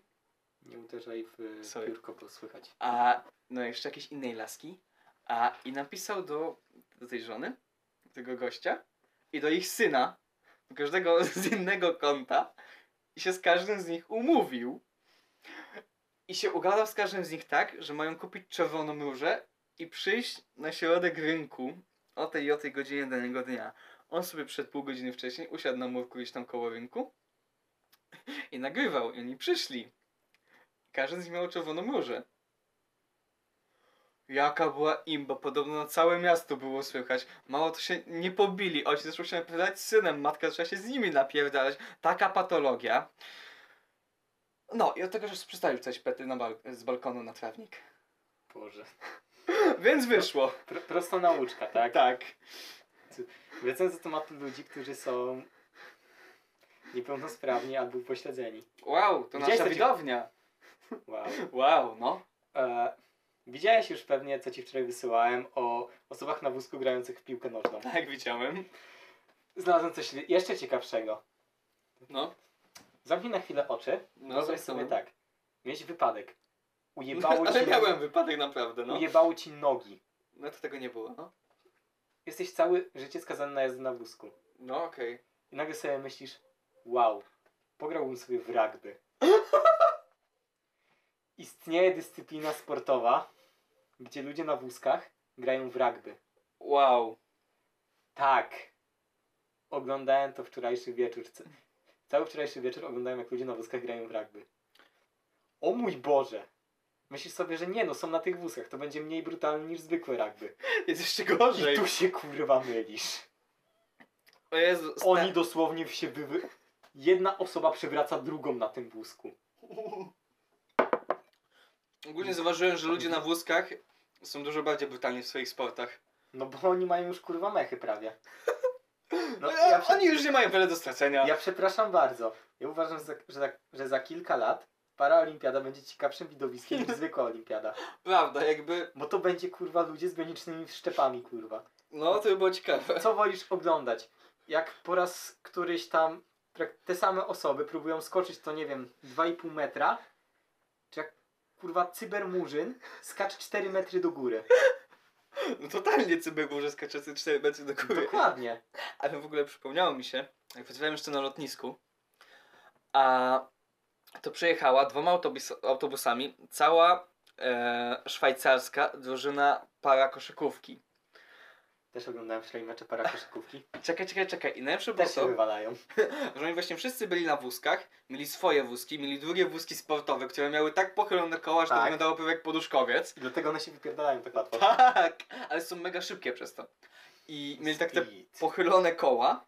Nie uderzaj w e,
Sorry.
piórko, bo słychać.
a no jeszcze jakiejś innej laski, a i napisał do, do tej żony, tego gościa i do ich syna, do każdego z innego konta i się z każdym z nich umówił. I się ugadał z każdym z nich tak, że mają kupić czerwoną różę i przyjść na środek rynku o tej i o tej godzinie danego dnia. On sobie przed pół godziny wcześniej usiadł na murku gdzieś tam koło rynku i nagrywał. I oni przyszli. Każdy z nich miał czerwoną różę. Jaka była imba, podobno na całe miasto było słychać. Mało to się nie pobili, ojciec zaczął się napierdalać z synem, matka zaczęła się z nimi napierdalać. Taka patologia. No i od tego, że przestali rzucać pety na bal- z balkonu na trawnik.
Boże.
Więc wyszło.
Pro, prosta nauczka, tak?
Tak.
Wracając do tematu ludzi, którzy są niepełnosprawni albo upośledzeni.
Wow, to
Gdzie
nasza
jesteś?
widownia.
Wow.
Wow, no.
E, widziałeś już pewnie, co ci wczoraj wysyłałem o osobach na wózku grających w piłkę nożną.
Tak, widziałem.
Znalazłem coś li- jeszcze ciekawszego.
No.
Zamknij na chwilę oczy.
No,
Wyobraź sobie
zamknąłem.
tak. Mieć wypadek. Ujebało
Ale
ci,
miałem wypadek naprawdę, no.
ujebało ci nogi.
No to tego nie było, no.
Jesteś całe życie skazany na jazdę na wózku.
No okej.
I nagle sobie myślisz, wow, pograłbym sobie w rugby. Istnieje dyscyplina sportowa, gdzie ludzie na wózkach grają w rugby.
Wow.
Tak. Oglądałem to wczorajszy wieczór. C- Cały wczorajszy wieczór oglądałem, jak ludzie na wózkach grają w rugby. O mój Boże! Myślisz sobie, że nie, no są na tych wózkach, to będzie mniej brutalne niż zwykłe rugby.
Jest jeszcze
I
gorzej.
tu się kurwa mylisz.
O Jezu, sta-
Oni dosłownie się wywy... Jedna osoba przewraca drugą na tym wózku.
Ogólnie zauważyłem, że ludzie na wózkach są dużo bardziej brutalni w swoich sportach.
No bo oni mają już kurwa mechy prawie. No,
No,
ja, prze...
Oni już nie mają wiele do stracenia.
ja przepraszam bardzo. Ja uważam, że za, że, za, że za kilka lat paraolimpiada będzie ciekawszym widowiskiem niż zwykła olimpiada.
Prawda, jakby.
Bo to będzie kurwa ludzie z gonicznymi szczepami kurwa.
No to by było ciekawe.
Co wolisz oglądać? Jak po raz któryś tam prak- te same osoby próbują skoczyć to nie wiem 2,5 metra? Czy jak kurwa cybermurzyn skacze 4 metry do góry?
No totalnie cybygło, że skaczecie 4 metry do góry.
Dokładnie.
Ale w ogóle przypomniało mi się, jak pracowałem jeszcze na lotnisku, a to przejechała dwoma autobus, autobusami cała e, szwajcarska drużyna para koszykówki.
Też oglądałem wczoraj mecze parakoszykówki.
Czekaj, czekaj, czekaj. I najlepsze było
Też się
No to,
wywalają.
że oni właśnie wszyscy byli na wózkach, mieli swoje wózki, mieli drugie wózki sportowe, które miały tak pochylone koła, że to
Tak.
wyglądało prawie jak poduszkowiec.
I dlatego one się wypierdalają tak łatwo.
Tak, ale są mega szybkie przez to. I mieli tak te
Speed.
pochylone koła.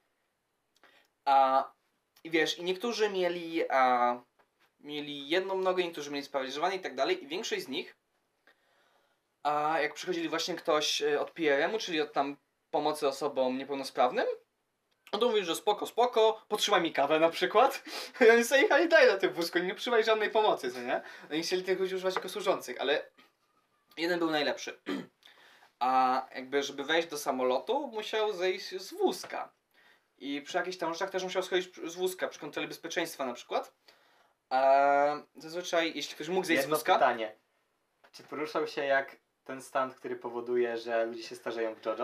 A i wiesz, i niektórzy mieli, a, mieli jedną nogę, niektórzy mieli sparaliżowane i tak dalej. I większość z nich, a jak przychodzili właśnie ktoś e, od PRM-u, czyli od tam pomocy osobom niepełnosprawnym, on to mówił, że spoko, spoko, potrzymaj mi kawę na przykład. I oni sobie jechali dalej na tym wózku, nie potrzymaj żadnej pomocy, co nie? Oni chcieli tych ludzi używać jako służących, ale jeden był najlepszy. A jakby, żeby wejść do samolotu, musiał zejść z wózka. I przy jakichś tam rzeczach też musiał schodzić z wózka, przy kontroli bezpieczeństwa na przykład. A zazwyczaj, jeśli ktoś mógł zejść z
Jedno
wózka...
pytanie. Czy poruszał się jak ten stan, który powoduje, że ludzie się starzeją w JoJo?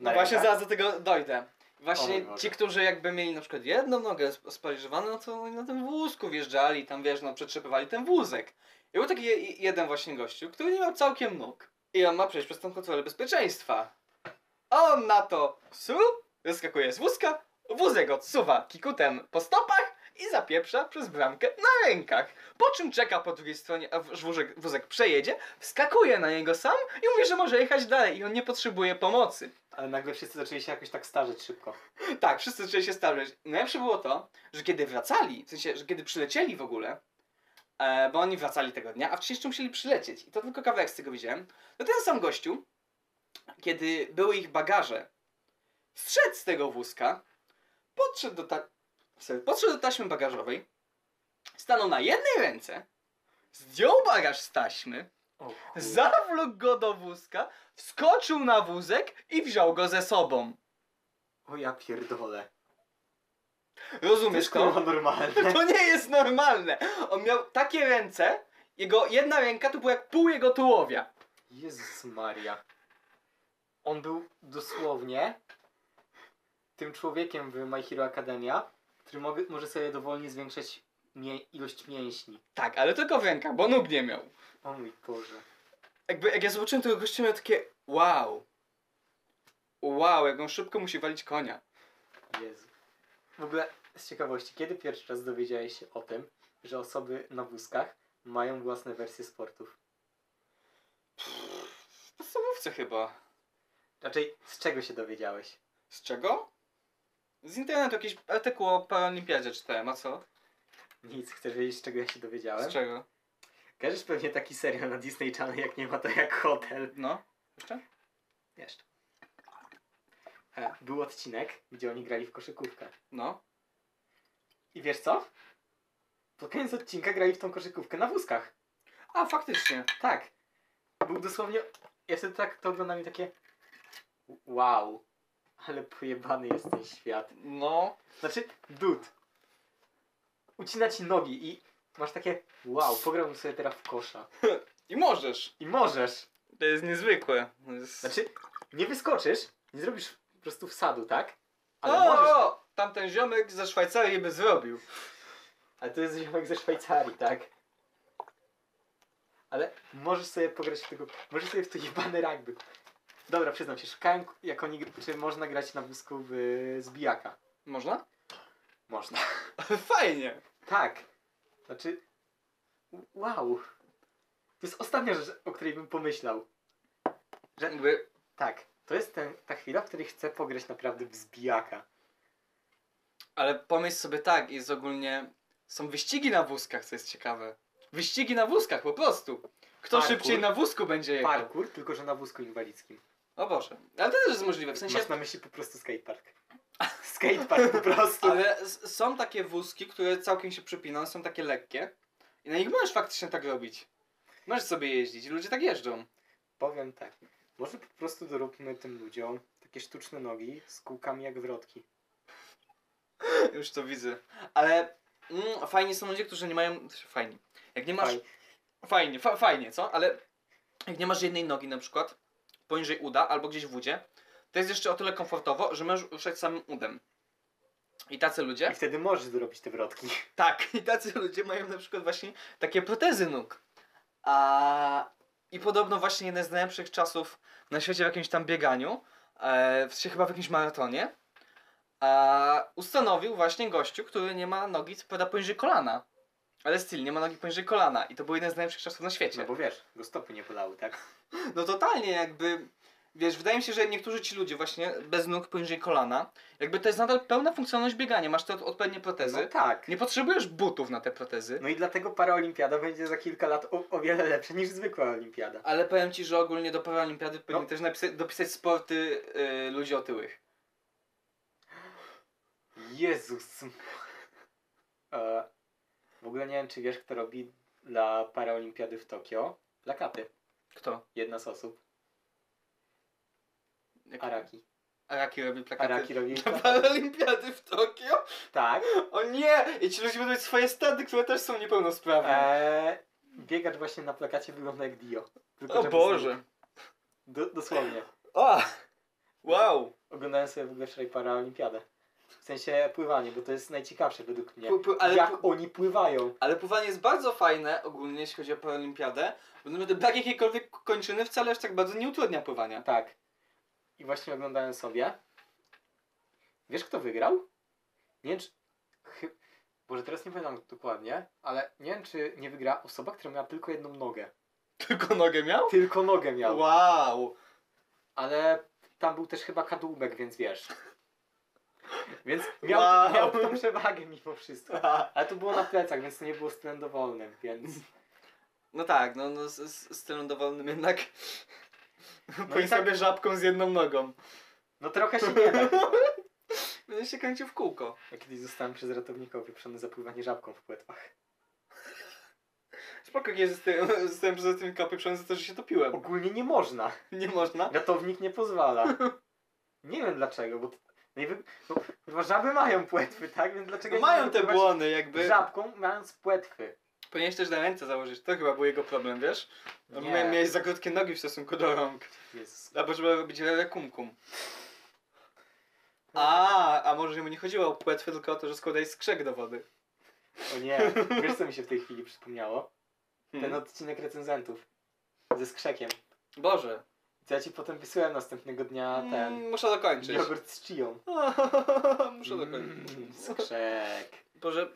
No
Na
właśnie
rękach?
zaraz do tego dojdę.
O
Właśnie
mój Boże.
ci, którzy jakby mieli na przykład jedną nogę sp- sparaliżowaną, no to oni na tym wózku wjeżdżali, tam wiesz, no przetrzepywali ten wózek. I był taki je- jeden właśnie gościu, który nie miał całkiem nóg. I on ma przejść przez tą kontrolę bezpieczeństwa. A on na to su, wyskakuje z wózka, wózek odsuwa kikutem po stopach i zapieprza przez bramkę na rękach. Po czym czeka po drugiej stronie, aż wózek, wózek przejedzie, wskakuje na niego sam i mówi, że może jechać dalej i on nie potrzebuje pomocy.
Ale nagle wszyscy zaczęli się jakoś tak starzeć szybko.
Tak, wszyscy zaczęli się starzeć. Najlepsze było to, że kiedy wracali, w sensie, że kiedy przylecieli w ogóle, e, bo oni wracali tego dnia, a wcześniej jeszcze musieli przylecieć. I to tylko kawałek z tego widziałem. No ten sam gościu, kiedy były ich bagaże, zszedł z tego wózka, podszedł do, ta... sorry, podszedł do taśmy bagażowej, stanął na jednej ręce zdjął bagaż z taśmy,
O,
zawlókł go do wózka, wskoczył na wózek i wziął go ze sobą.
o ja pierdolę.
Rozumiesz
Wiesz,
to?
to normalne.
To nie jest normalne. On miał takie ręce, jego jedna ręka to była jak pół jego tułowia.
Jezus Maria. On był dosłownie tym człowiekiem w My Hero Academia, który mogę, może sobie dowolnie zwiększać mię, ilość mięśni.
Tak, ale tylko w ręka, bo nóg nie miał.
O mój Boże.
Jakby, jak ja zobaczyłem tego gościa, miałem takie wow. Wow, jak on szybko musi walić konia.
Jezu. W ogóle z ciekawości, kiedy pierwszy raz dowiedziałeś się o tym, że osoby na wózkach mają własne wersje sportów?
W podstawówce chyba.
Raczej z czego się dowiedziałeś?
Z czego? Z internetu jakiś artykuł o paraolimpiadzie czytałem, a co?
Nic, chcesz wiedzieć z czego ja się dowiedziałem?
Z czego?
Kojarzysz pewnie taki serial na Disney Channel, jak nie ma to jak hotel.
No. Jeszcze?
Jeszcze. E, Był odcinek, gdzie oni grali w koszykówkę.
No.
I wiesz co? Pod koniec odcinka grali w tą koszykówkę na wózkach.
A, faktycznie.
Tak. Był dosłownie... Ja wtedy tak to oglądam i takie... Wow. Ale pojebany jest ten świat.
No.
Znaczy, dud. Ucina ci nogi i masz takie... Wow, pograłbym sobie teraz w kosza.
I możesz.
I możesz.
To jest niezwykłe. To jest...
Znaczy, nie wyskoczysz, nie zrobisz po prostu wsadu, tak? Ale
Ale o,
możesz...
o, tamten ziomek ze Szwajcarii by zrobił.
Ale to jest ziomek ze Szwajcarii, tak? Ale możesz sobie pograć w tego. Możesz sobie w to jebane rugby. Dobra, przyznam się, szukałem, jak oni, czy można grać na wózku w y, zbijaka.
Można?
Można.
Fajnie.
Tak. Znaczy. Wow. To jest ostatnia rzecz, o której bym pomyślał.
Jakby,
Tak. To jest ten, ta chwila, w której chcę pograć naprawdę w zbijaka.
ale pomyśl sobie tak, jest ogólnie... Są wyścigi na wózkach, co jest ciekawe. Wyścigi na wózkach, po prostu. Kto
Parkour.
szybciej na wózku będzie jechał.
Parkour, tylko że na wózku inwalidzkim.
O Boże. Ale to też jest możliwe, w sensie...
Masz na myśli po prostu skatepark. Skatepark po prostu.
Ale s- są takie wózki, które całkiem się przypinają, są takie lekkie. I na nich możesz faktycznie tak robić. Możesz sobie jeździć, ludzie tak jeżdżą.
Powiem tak. Może po prostu doróbmy tym ludziom takie sztuczne nogi z kółkami jak wrotki.
Już to widzę. Ale mm, fajni są ludzie, którzy nie mają... Fajni. Jak nie masz...
Faj.
Fajnie, fa- fajnie, co? Ale jak nie masz jednej nogi na przykład, poniżej uda albo gdzieś w udzie, to jest jeszcze o tyle komfortowo, że możesz ruszać samym udem. I tacy ludzie...
I wtedy możesz dorobić te wrotki.
Tak, i tacy ludzie mają na przykład właśnie takie protezy nóg. A, I podobno właśnie jeden z najlepszych czasów na świecie w jakimś tam bieganiu, e, w sensie chyba w jakimś maratonie, a, ustanowił właśnie gościu, który nie ma nogi, co prawda poniżej kolana. Ale styl, nie ma nogi poniżej kolana. I to był jeden z najlepszych czasów na świecie.
No bo wiesz, go stopy nie bolały, tak?
No totalnie jakby. Wiesz, wydaje mi się, że niektórzy ci ludzie właśnie bez nóg poniżej kolana, jakby to jest nadal pełna funkcjonalność biegania, masz te od- odpowiednie protezy.
No tak.
Nie potrzebujesz butów na te protezy.
No i dlatego paraolimpiada będzie za kilka lat o, o wiele lepsza niż zwykła olimpiada.
Ale powiem ci, że ogólnie do paraolimpiady powinni
No.
też napisać, dopisać sporty yy, ludzi otyłych.
Jezus. E, w ogóle nie wiem, czy wiesz, kto robi dla paraolimpiady w Tokio plakaty.
Kto?
Jedna z osób.
Jak...
Araki.
Araki robi plakaty.
Araki robi
Na
plakaty.
paraolimpiady w Tokio?
Tak.
O nie! I ci ludzie będą mieć swoje stady, które też są niepełnosprawne.
E, biegacz właśnie na plakacie wygląda jak Dio. Tylko, że bez
Eee. o
nóg.
Boże.
Do, dosłownie.
O! Wow!
Oglądałem sobie w ogóle wczoraj paraolimpiadę. W sensie pływanie, bo to jest najciekawsze według mnie.
Pły- pły- ale
jak
pły-
oni pływają.
Ale pływanie jest bardzo fajne ogólnie, jeśli chodzi o paraolimpiadę, bo naprawdę brak jakiejkolwiek kończyny wcale aż tak bardzo nie utrudnia pływania.
Tak. I właśnie oglądałem sobie. Wiesz kto wygrał? Nie wiem czy... Chy... Boże, teraz nie pamiętam dokładnie, ale nie wiem czy nie wygra osoba, która miała tylko jedną nogę.
Tylko nogę miał?
Tylko nogę miał.
Wow!
Ale tam był też chyba kadłubek, więc wiesz. Więc miał,
Wow.
miał tą przewagę mimo wszystko. Ale to było na plecach, więc to nie było stylem dowolnym, więc...
No tak, no, no z, z stylem dowolnym jednak. No
i
i
tak-
sobie żabką z jedną nogą.
No trochę się nie da. chyba.
Będę się kręcił w kółko.
Ja kiedyś zostałem przez ratownika opieprzony za pływanie żabką w płetwach.
Spoko, nie zostałem, zostałem poza tym kapyprzony za to, że się topiłem.
Ogólnie nie można.
Nie można.
Ratownik nie pozwala. Nie wiem dlaczego, bo... Najwy... bo kurwa, żaby mają płetwy, tak? Więc dlaczego...
No
nie
mają te
wypływać
błony jakby.
Żabką mając płetwy.
Powinieneś też na ręce założyć, to chyba był jego problem, wiesz? Bo
Nie.
mia- Miałeś za krótkie nogi w stosunku do rąk.
Jezus.
Albo żeby robić lele kumkum. No. A, a może mu nie chodziło o płetwy, tylko o to, że składaj skrzek do wody.
O nie, wiesz co mi się w tej chwili przypomniało?
Hmm.
Ten
Mhm.
odcinek recenzentów. Ze skrzekiem.
Boże.
Co ja ci potem wysyłałem następnego dnia ten...
Mm, Muszę dokończyć.
Jogurt z chiją.
Muszę dokończyć.
Mm, Skrzek.
Boże,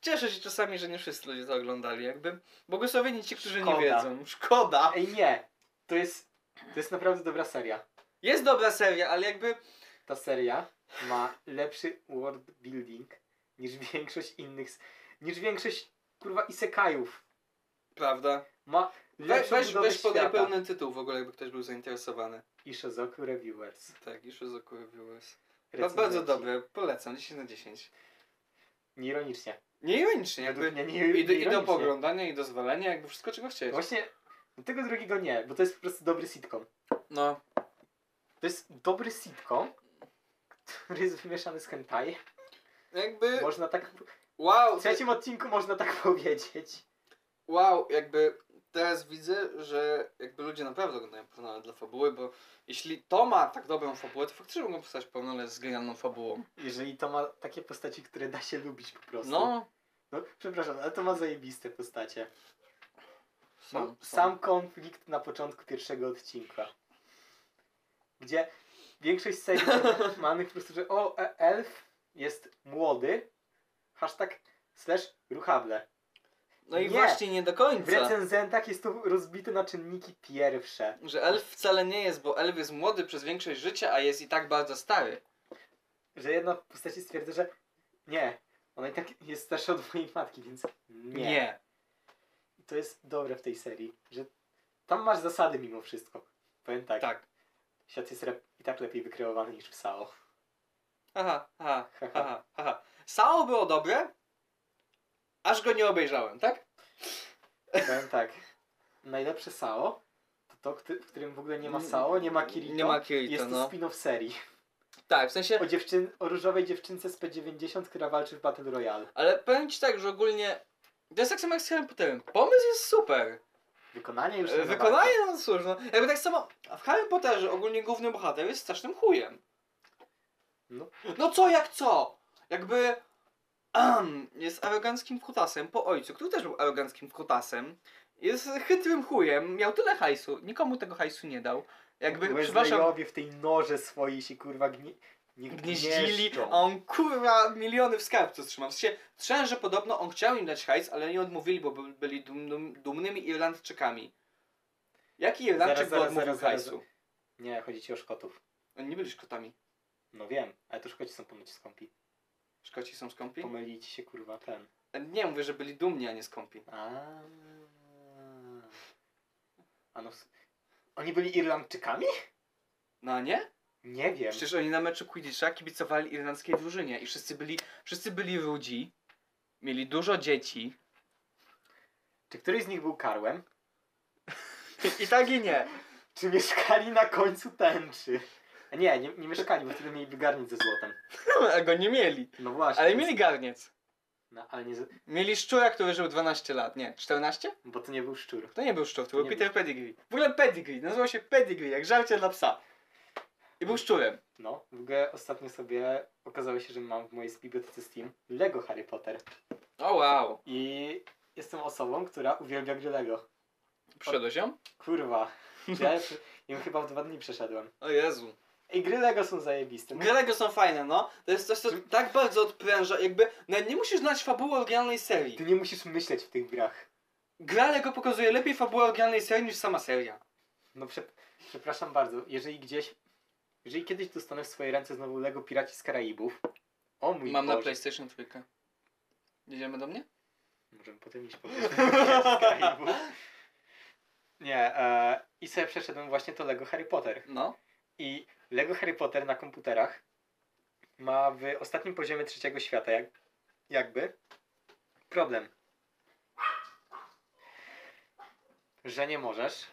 cieszę się czasami, że nie wszyscy ludzie to oglądali jakby. Błogosławieni ci, którzy
Szkoda.
nie wiedzą. Szkoda.
Ej nie, to jest, to jest naprawdę dobra seria.
Jest dobra seria, ale jakby...
Ta seria ma lepszy world building niż większość innych, s- niż większość kurwa isekajów.
Prawda.
Ma
We,
lepszą
weź
budowę
weź podaj
świata.
pełny tytuł w ogóle, jakby ktoś był zainteresowany.
I Shizoku Reviewers.
Tak, już zakupiłeś.
Recenzenci.
Bardzo dobre, polecam, 10 na 10.
Nieironicznie.
Nieironicznie,
Według
jakby...
mnie nie,
I do, I do
nieironicznie.
poglądania, i do zwalenia, jakby wszystko czego chcieć.
Właśnie tego drugiego nie, bo to jest po prostu dobry sitcom.
No,
To jest dobry sitcom, który jest wymieszany z hentai.
jakby.
Można tak...
Wow,
W trzecim odcinku można tak powiedzieć.
wow, jakby teraz widzę, że jakby ludzie naprawdę oglądają Pornole dla fabuły, bo jeśli to ma tak dobrą fabułę, to faktycznie mogą powstać Pornole z genialną fabułą.
Jeżeli to ma takie postaci, które da się lubić po prostu.
No,
No, przepraszam, ale to ma zajebiste postacie. No,
są, są.
Sam konflikt na początku pierwszego odcinka. Gdzie większość serii manych po prostu, że o, e, elf jest młody, hashtag slash ruchable.
No i
Nie.
właśnie nie do
W
końca.
recenzentach jest to rozbite na czynniki pierwsze.
Że elf wcale nie jest, bo elf jest młody przez większość życia, a jest i tak bardzo stary.
Że jedna postać stwierdza, że nie, ona i tak jest starsza od mojej matki, więc nie.
Nie.
I To jest dobre w tej serii, że tam masz zasady mimo wszystko. Powiem tak,
Tak.
świat jest rep- i tak lepiej wykreowany niż w SAO.
Aha, aha, aha, aha. Sao było dobre, aż go nie obejrzałem, tak?
Powiem tak. Najlepsze Sao to to, kty- w którym w ogóle nie ma Sao, nie ma Kirito.
Nie ma Kirito,
Jest to
no.
spin-off serii.
Tak, w sensie,
O, dziewczyn, o różowej dziewczynce z P90, która walczy w Battle Royale.
ale powiem ci tak, że ogólnie to jest tak samo jak z Harry Potterem. Pomysł jest super.
Wykonanie już
E,
nie
Wykonanie no cóż, no. Jakby tak samo w Harry Potterze ogólnie główny bohater jest strasznym chujem.
No.
No co jak co? Jakby ahem, jest aroganckim kutasem po ojcu, który też był aroganckim kutasem. Jest chytrym chujem, miał tyle hajsu, nikomu tego hajsu nie dał. Jakby, przepraszam,
Weslayowie w tej noże swojej się kurwa gni... nie
gnieździli,
gnieżdżą.
a on kurwa miliony w skarbcu trzymał. Znaczy W sensie, trzęże podobno on chciał im dać hajs, ale nie odmówili, bo by- byli dum, dum, dumnymi Irlandczykami. Jaki Irlandczyk
Zaraz,
by
zaraz,
odmówił
zaraz,
hajsu?
zaraz. Nie, chodzi ci o Szkotów.
Oni nie byli Szkotami.
No wiem, ale to Szkoci są ponoć skąpi.
Szkoci są skąpi?
Pomylili ci się kurwa ten.
Nie, mówię, że byli dumni, a nie skąpi.
A. A no... s- Oni byli Irlandczykami?
No a nie?
Nie wiem.
Przecież oni na meczu Quidditcha kibicowali irlandzkiej drużynie i wszyscy byli, wszyscy byli rudzi, mieli dużo dzieci.
Czy któryś z nich był karłem?
I tak i nie.
Czy mieszkali na końcu tęczy? A nie, nie, nie mieszkali, bo wtedy mieliby garnić ze złotem.
A go nie mieli.
No właśnie.
Ale
więc-
mieli garniec.
No, ale nie, z-
Mieli szczura, który żył 12 lat. Nie, 14?
bo to nie był szczur.
To nie był szczur, to był
Nie
Peter Pedigree. W ogóle Pedigree, nazywał się Pedigree, jak żarcie dla psa. I był szczurem.
No, w ogóle ostatnio sobie okazało się, że mam w mojej bibliotece Steam Lego Harry Potter.
O wow.
I jestem osobą, która uwielbia gry Lego.
Przyszedłeś ją?
Kurwa. Ja już- im chyba w dwa dni przeszedłem.
O Jezu.
I gry Lego są zajebiste. No,
Gry są fajne, no. To jest coś, co tak bardzo odpręża, jakby... Nawet nie musisz znać fabuły oryginalnej serii.
Ty nie musisz myśleć w tych grach.
Gra Lego pokazuje lepiej fabułę oryginalnej serii niż sama seria.
No przep- przepraszam bardzo, jeżeli gdzieś... Jeżeli kiedyś dostanę w swoje ręce znowu Lego Piraci z Karaibów... O mój
Mam
Boże.
na PlayStation 3. Jedziemy do mnie?
Możemy potem iść po prostu z Karaibów. Nie, e, i sobie przeszedłem właśnie to Lego Harry Potter.
No.
I Lego Harry Potter na komputerach ma w ostatnim poziomie trzeciego świata jak, jakby problem. że nie możesz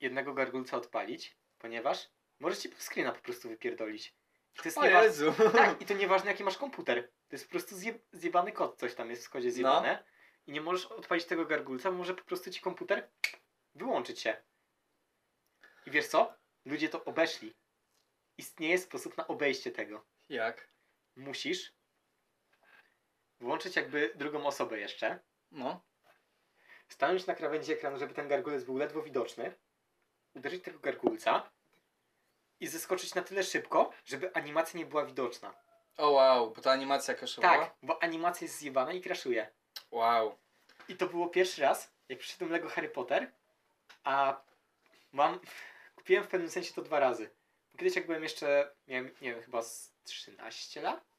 jednego gargulca odpalić, ponieważ możesz ci screena po prostu wypierdolić. To jest
O
niewa-
Jezu!
Tak, i to nieważne jaki masz komputer. To jest po prostu zje... zjebany kod, coś tam jest w kodzie zjebane. I nie możesz odpalić tego gargulca, bo może po prostu ci komputer wyłączyć się. I wiesz co? Ludzie to obeszli. Istnieje sposób na obejście tego.
Jak?
Musisz włączyć jakby drugą osobę jeszcze,
No.
stanąć na krawędzi ekranu, żeby ten gargulec był ledwo widoczny, uderzyć tego gargulca i zeskoczyć na tyle szybko, żeby animacja nie była widoczna.
O wow, bo ta animacja kaszowa?
Tak, bo animacja jest zjebana i kraszuje.
Wow.
I to było pierwszy raz, jak przyszedłem Lego Harry Potter, a mam. Kupiłem w pewnym sensie to dwa razy. Kiedyś jak byłem jeszcze, miałem, nie wiem, chyba z 13 lat.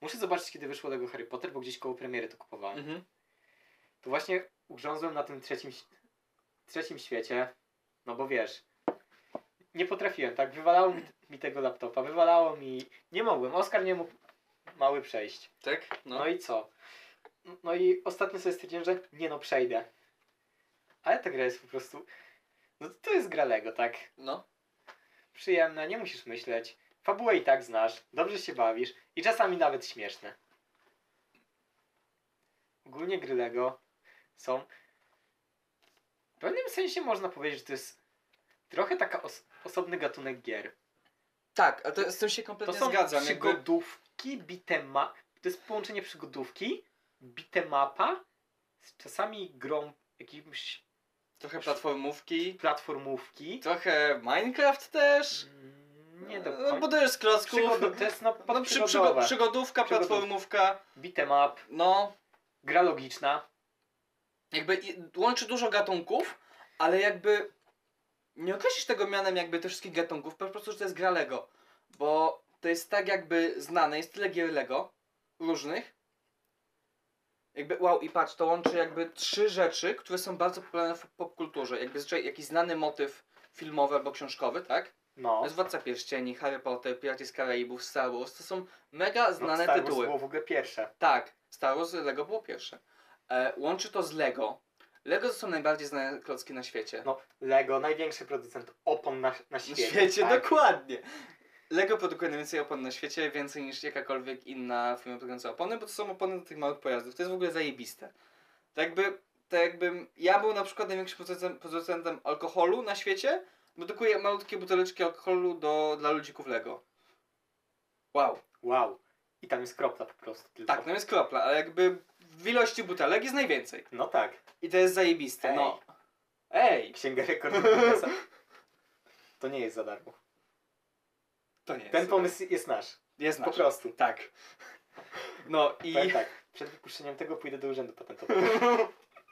Muszę zobaczyć, kiedy wyszło Lego Harry Potter, bo gdzieś koło premiery to kupowałem.
Mhm.
To właśnie ugrzązłem na tym trzecim, ś- trzecim świecie, no bo wiesz, nie potrafiłem, tak? Wywalało mi, mi tego laptopa, wywalało mi... Nie mogłem, Oskar nie mógł mały przejść.
Tak?
No.
No.
i co? No i ostatnio sobie stwierdziłem, że nie no, przejdę. Ale ta gra jest po prostu... No to jest gra Lego, tak?
No.
Przyjemna, nie musisz myśleć. Fabułę i tak znasz, dobrze się bawisz i czasami nawet śmieszne. Ogólnie gry Lego są... W pewnym sensie można powiedzieć, że to jest trochę taka os- osobny gatunek gier.
Tak, a to, z tym się
To
kompletnie
są
zgadzam. Jakby...
przygodówki, bitema... To jest połączenie przygodówki, bitemapa z czasami grą jakimś
Trochę platformówki,
platformówki.
trochę Minecraft też.
Mm, Nie do
No,
końca.
budujesz z klocków.
Przygod... To jest no,
No, przy,
przygodowe.
przygo, przygodówka,
Przygodówka.
platformówka.
Bitemap,
No,
gra logiczna.
jakby i- łączy dużo gatunków, ale jakby nie określisz tego mianem jakby tych wszystkich gatunków, po prostu, że to jest gra Lego. Bo to jest tak jakby znane, jest tyle gier Lego różnych. Jakby wow i patrz, to łączy jakby trzy rzeczy, które są bardzo popularne w popkulturze. Jakby zazwyczaj jakiś znany motyw filmowy albo książkowy, tak? To
No.
jest Władca Pierścieni, Harry Potter, Piraci z Karaibów, Star Wars. To są mega
no
znane
Star Wars
tytuły.
było w ogóle pierwsze.
Tak, Star Wars Lego było pierwsze. E, łączy to z Lego. Lego to są najbardziej znane klocki na świecie.
No, Lego, największy producent opon na, na
na
świecie.
świecie,
tak?
dokładnie. Lego produkuje najwięcej opon na świecie, więcej niż jakakolwiek inna firma produkująca opony, bo to są opony do tych małych pojazdów. To jest w ogóle zajebiste. Tak jakby, tak jakbym ja był na przykład największym producentem, producentem alkoholu na świecie, produkuję malutkie buteleczki alkoholu do, dla ludzików Lego. Wow.
Wow. I tam jest kropla po prostu tylko.
Tak, no jest kropla, ale jakby w ilości butelek jest najwięcej.
No tak.
I to jest zajebiste,
Ej.
no. Ej!
Księga rekordów Guinnessa. To nie jest za darmo.
To nie jest.
Ten pomysł jest nasz.
jest
Po
nasz.
prostu.
Tak. No i...
Powiem tak, przed wypuszczeniem tego pójdę do urzędu patentowego.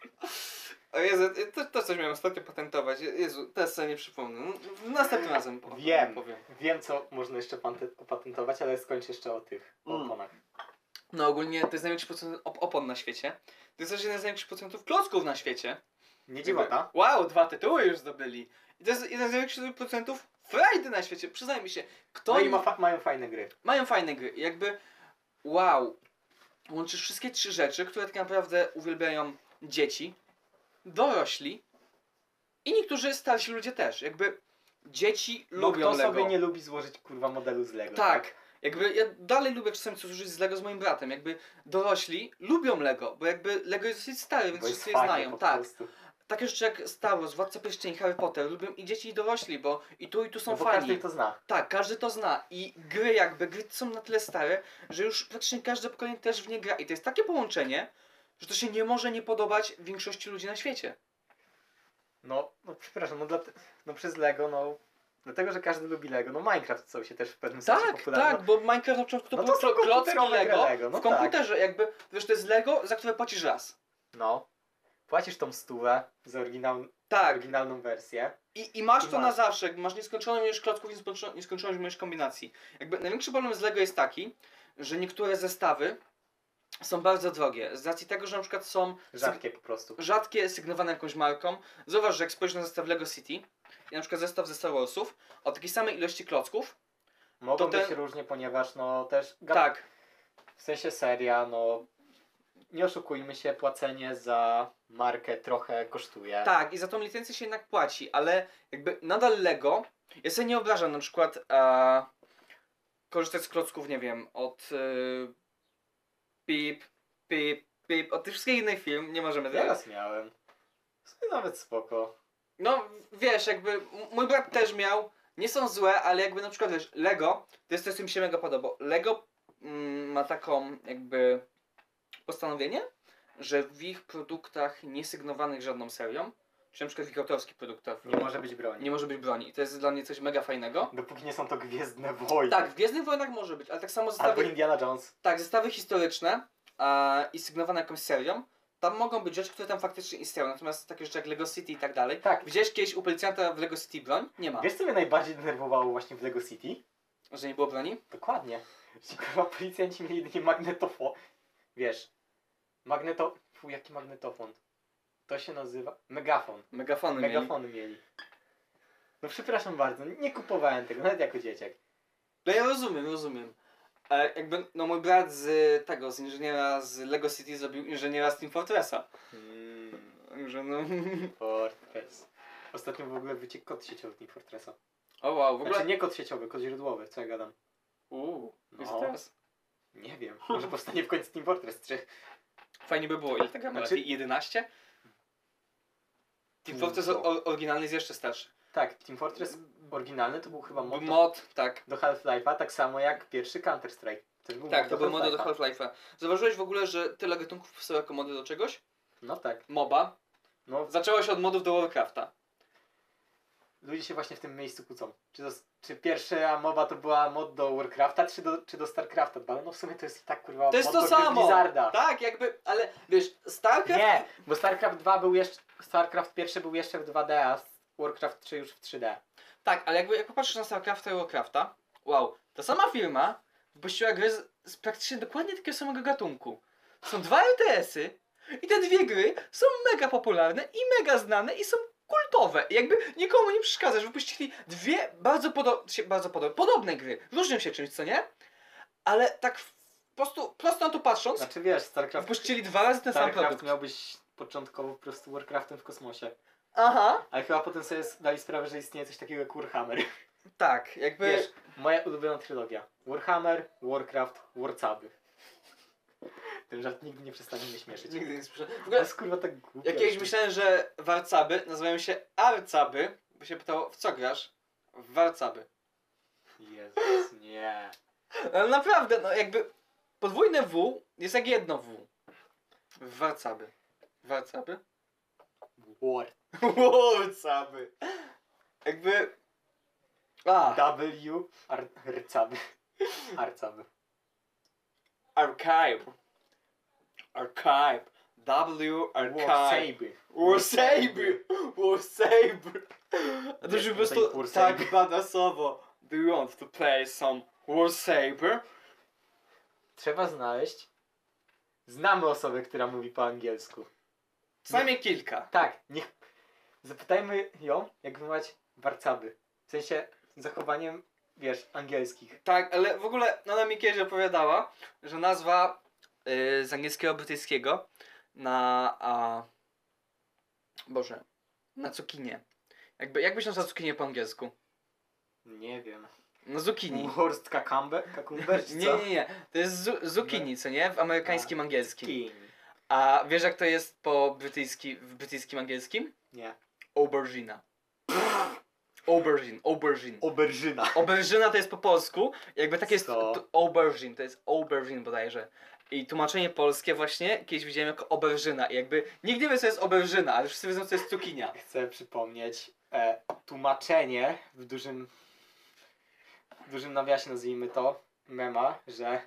O Jezu, to, to coś miałem ostatnio patentować. Jezu, teraz sobie nie przypomnę. No, Następnym razem po-
Wiem.
powiem.
Wiem, co można jeszcze pante- opatentować, ale skończę jeszcze o tych
Mm.
oponach.
No ogólnie to jest największy procent op- opon na świecie. To jest też jeden z największych procentów klocków na świecie.
Nie dziwota.
Wow, dwa tytuły już zdobyli. I to jest jeden z największych procentów frajdy na świecie. Przyznaj mi się, kto
No i
im-
ma fa- mają fajne gry.
mają fajne gry. Jakby wow. Łączysz wszystkie trzy rzeczy, które tak naprawdę uwielbiają dzieci, dorośli i niektórzy starsi ludzie też. Jakby dzieci
No
lubią
kto
Lego.
sobie nie lubi złożyć kurwa modelu z Lego?
Tak. Jakby ja dalej lubię czasami coś użyć z Lego z moim bratem. Jakby dorośli lubią Lego, bo jakby Lego jest dosyć stary, więc
Bo jest
wszyscy je
fajne
znają.
po
Tak.
prostu.
Takie rzeczy jak Star Wars, Władca Pierścieni, Harry Potter lubią i dzieci i dorośli, bo i tu i tu są
No bo
fani.
każdy to zna.
Tak, każdy to zna i gry jakby, gry są na tyle stare, że już praktycznie każde pokolenie też w nie gra i to jest takie połączenie, że to się nie może nie podobać większości ludzi na świecie.
No, no przepraszam, no, dla, no przez Lego, no... Dlatego, że każdy lubi Lego. No Minecraft stał się też w pewnym sensie
Tak,
popularny.
tak, bo Minecraft na początku to
No to
były
są
klo- klocki
komputerowe gry
Lego, tak.
Lego, no
w komputerze jakby, wiesz, to jest Lego, za które płacisz raz.
No. Płacisz tą stówę za oryginał,
Tak,
oryginalną wersję.
i, i masz
I
to na
masz.
zawsze, jakby masz nieskończoną ilość klocków i nieskończo- nieskończoną ilość kombinacji. Jakby największy problem z Lego jest taki, że niektóre zestawy są bardzo drogie, z racji tego, że na przykład są
Rzadkie po prostu.
rzadkie, sygnowane jakąś marką. Zauważ, że jak spojrzysz na zestaw Lego City i na przykład zestaw ze Star Warsów o takiej samej ilości klocków,
Mogą
to ten-
być różnie, ponieważ no też...
tak,
W sensie seria, no... nie oszukujmy się, płacenie za markę trochę kosztuje.
Tak, i za tą licencję się jednak płaci, ale jakby nadal Lego. Ja sobie nie wyobrażam na przykład e, korzystać z klocków, nie wiem, od e, Pip, Pip, Pip, od tych wszystkich innych film, nie możemy
Ja
teraz.
raz miałem. W sumie nawet spoko.
No wiesz, jakby m- mój brat też miał, nie są złe, ale jakby na przykład wiesz, Lego, to jest coś, co mi się mega podoba. Lego mm, ma taką jakby postanowienie, że w ich produktach niesygnowanych żadną serią, czy na przykład w ich autorskich produktach
Nie może być broni.
nie może być broni. I to jest dla mnie coś mega fajnego.
Dopóki nie są to Gwiezdne Wojny.
Tak, w Gwiezdnych Wojnach może być, ale tak samo
Albo
zestawy,
Indiana Jones.
tak, zestawy historyczne e, i sygnowane jakąś serią, tam mogą być rzeczy, które tam faktycznie istnieją. Natomiast takie rzeczy jak Lego City i tak dalej.
Tak.
Widziałeś kiedyś u policjanta w Lego City broń? Nie ma.
Wiesz co mnie najbardziej denerwowało właśnie w Lego City?
Że nie było broni?
Dokładnie. Ci kurwa policjanci mieli jedynie magnetofon. Wiesz, magneto... Fu, jaki magnetofon? To się nazywa... Megafon.
Megafony mieli.
Megafony mieli. No przepraszam bardzo, nie kupowałem tego, nawet jako dzieciak.
No ja rozumiem, rozumiem. E, jakby, no mój brat z tego, z inżyniera z Lego City zrobił inżyniera z Team Fortressa.
Mm,
Także no...
Fortress. Ostatnio w ogóle wyciekł kod sieciowy z Team Fortressa.
O wow, w ogóle...
Znaczy nie kod sieciowy, kod źródłowy, co ja gadam.
Uuu, no.
No.
teraz?
Nie wiem, może powstanie w końcu Team Fortress 3.
Fajnie by było, ile taka ma
Znaczy-
lat? 11? Team
Mm,
Fortress
to.
o- oryginalny jest jeszcze starszy.
Tak, Team Fortress oryginalny to był chyba
Mod,
mod
mod tak.
do Half-Life'a, tak samo jak pierwszy Counter-Strike. Też był
Tak,
mod
to były mody do
Half-Life'a.
Half-Life'a. Zauważyłeś w ogóle, że tyle gatunków powstało jako mody do czegoś?
No tak.
MOBA.
No,
Zaczęło się od modów do Warcrafta.
ludzie się właśnie w tym miejscu kłócą. Czy, to, czy pierwsza moba to była mod do Warcrafta, czy do, czy do Starcrafta? Bo no w sumie to jest i tak kurwa
To
mod
jest to
do gry
samo!
Blizzarda.
Tak, jakby, ale wiesz, StarCraft...
Nie, bo Starcraft 2 był jeszcze, Starcraft pierwszy był jeszcze w 2D, a Warcraft 3 już w 3D.
Tak, ale jakby jak popatrzysz na StarCrafta i Warcrafta, wow, ta sama firma wypuściła gry z, z praktycznie dokładnie takiego samego gatunku. Są dwa RTS-y i te dwie gry są mega popularne i mega znane i są kultowe. I jakby nikomu nie przeszkadza, że wypuścili dwie bardzo, podo- się- bardzo podo- podobne gry. Różnią się czymś, co nie? Ale tak w- po prostu prosto na to patrząc,
Znaczy wiesz, Starcraft,
wypuścili dwa razy ten sam
Starcraft
produkt.
miał być początkowo po prostu Warcraftem w kosmosie.
Aha,
Ale chyba potem sobie dali sprawę, że istnieje coś takiego jak Warhammer.
tak, jakby...
Wiesz, moja ulubiona trylogia. Warhammer, Warcraft, Warcaby. Ten żart nigdy nie przestanie mnie śmieszyć.
nigdy nie słyszałem. W
To
ogóle
jest kurwa tak głupie.
Ja kiedyś myślałem, że warcaby nazywają się arcaby, bo się pytało, w co grasz? W warcaby.
Jezus, nie.
Ale naprawdę, no jakby podwójne W jest jak jedno W. W warcaby. Warcaby?
War.
Warcaby. Jakby... A,
W. Ar- Rcaby. Arcaby.
archive. Archive. W, archive.
Warsaby.
Warsaby! Warsaby! To
Wiesz,
już po
tutaj
prostu
Warsaby.
tak badasowo. Do you want to play some Warsaber?
Trzeba znaleźć. Znamy osobę, która mówi po angielsku.
Co najmniej kilka.
Tak, niech. Zapytajmy ją, jak wymawiać warcaby. W sensie zachowaniem, wiesz, angielskich.
Tak, ale w ogóle Nana Mikierze opowiadała, że nazwa y, z angielskiego brytyjskiego na. A, Boże, na cukinię. Jakby, jakbyś nazwał cukinię po angielsku?
Nie wiem.
No zucchini.
Horst Kakambe? Kakumber? czy
Nie,
co?
nie, nie. To jest zu- zucchini, co nie? W amerykańskim angielskim.
King.
A wiesz jak to jest po brytyjski, w brytyjskim angielskim?
Nie.
Aubergina. Aubergine, aubergine.
Oberżyna.
Aubergina to jest po polsku, jakby tak jest
Co?
to aubergine, to jest aubergine bodajże. I tłumaczenie polskie właśnie kiedyś widziałem jako aubergina i jakby nikt nie wie co jest aubergina, ale wszyscy wiedzą co jest cukinia.
Chcę przypomnieć e, tłumaczenie w dużym w dużym nawiasie nazwijmy to mema, że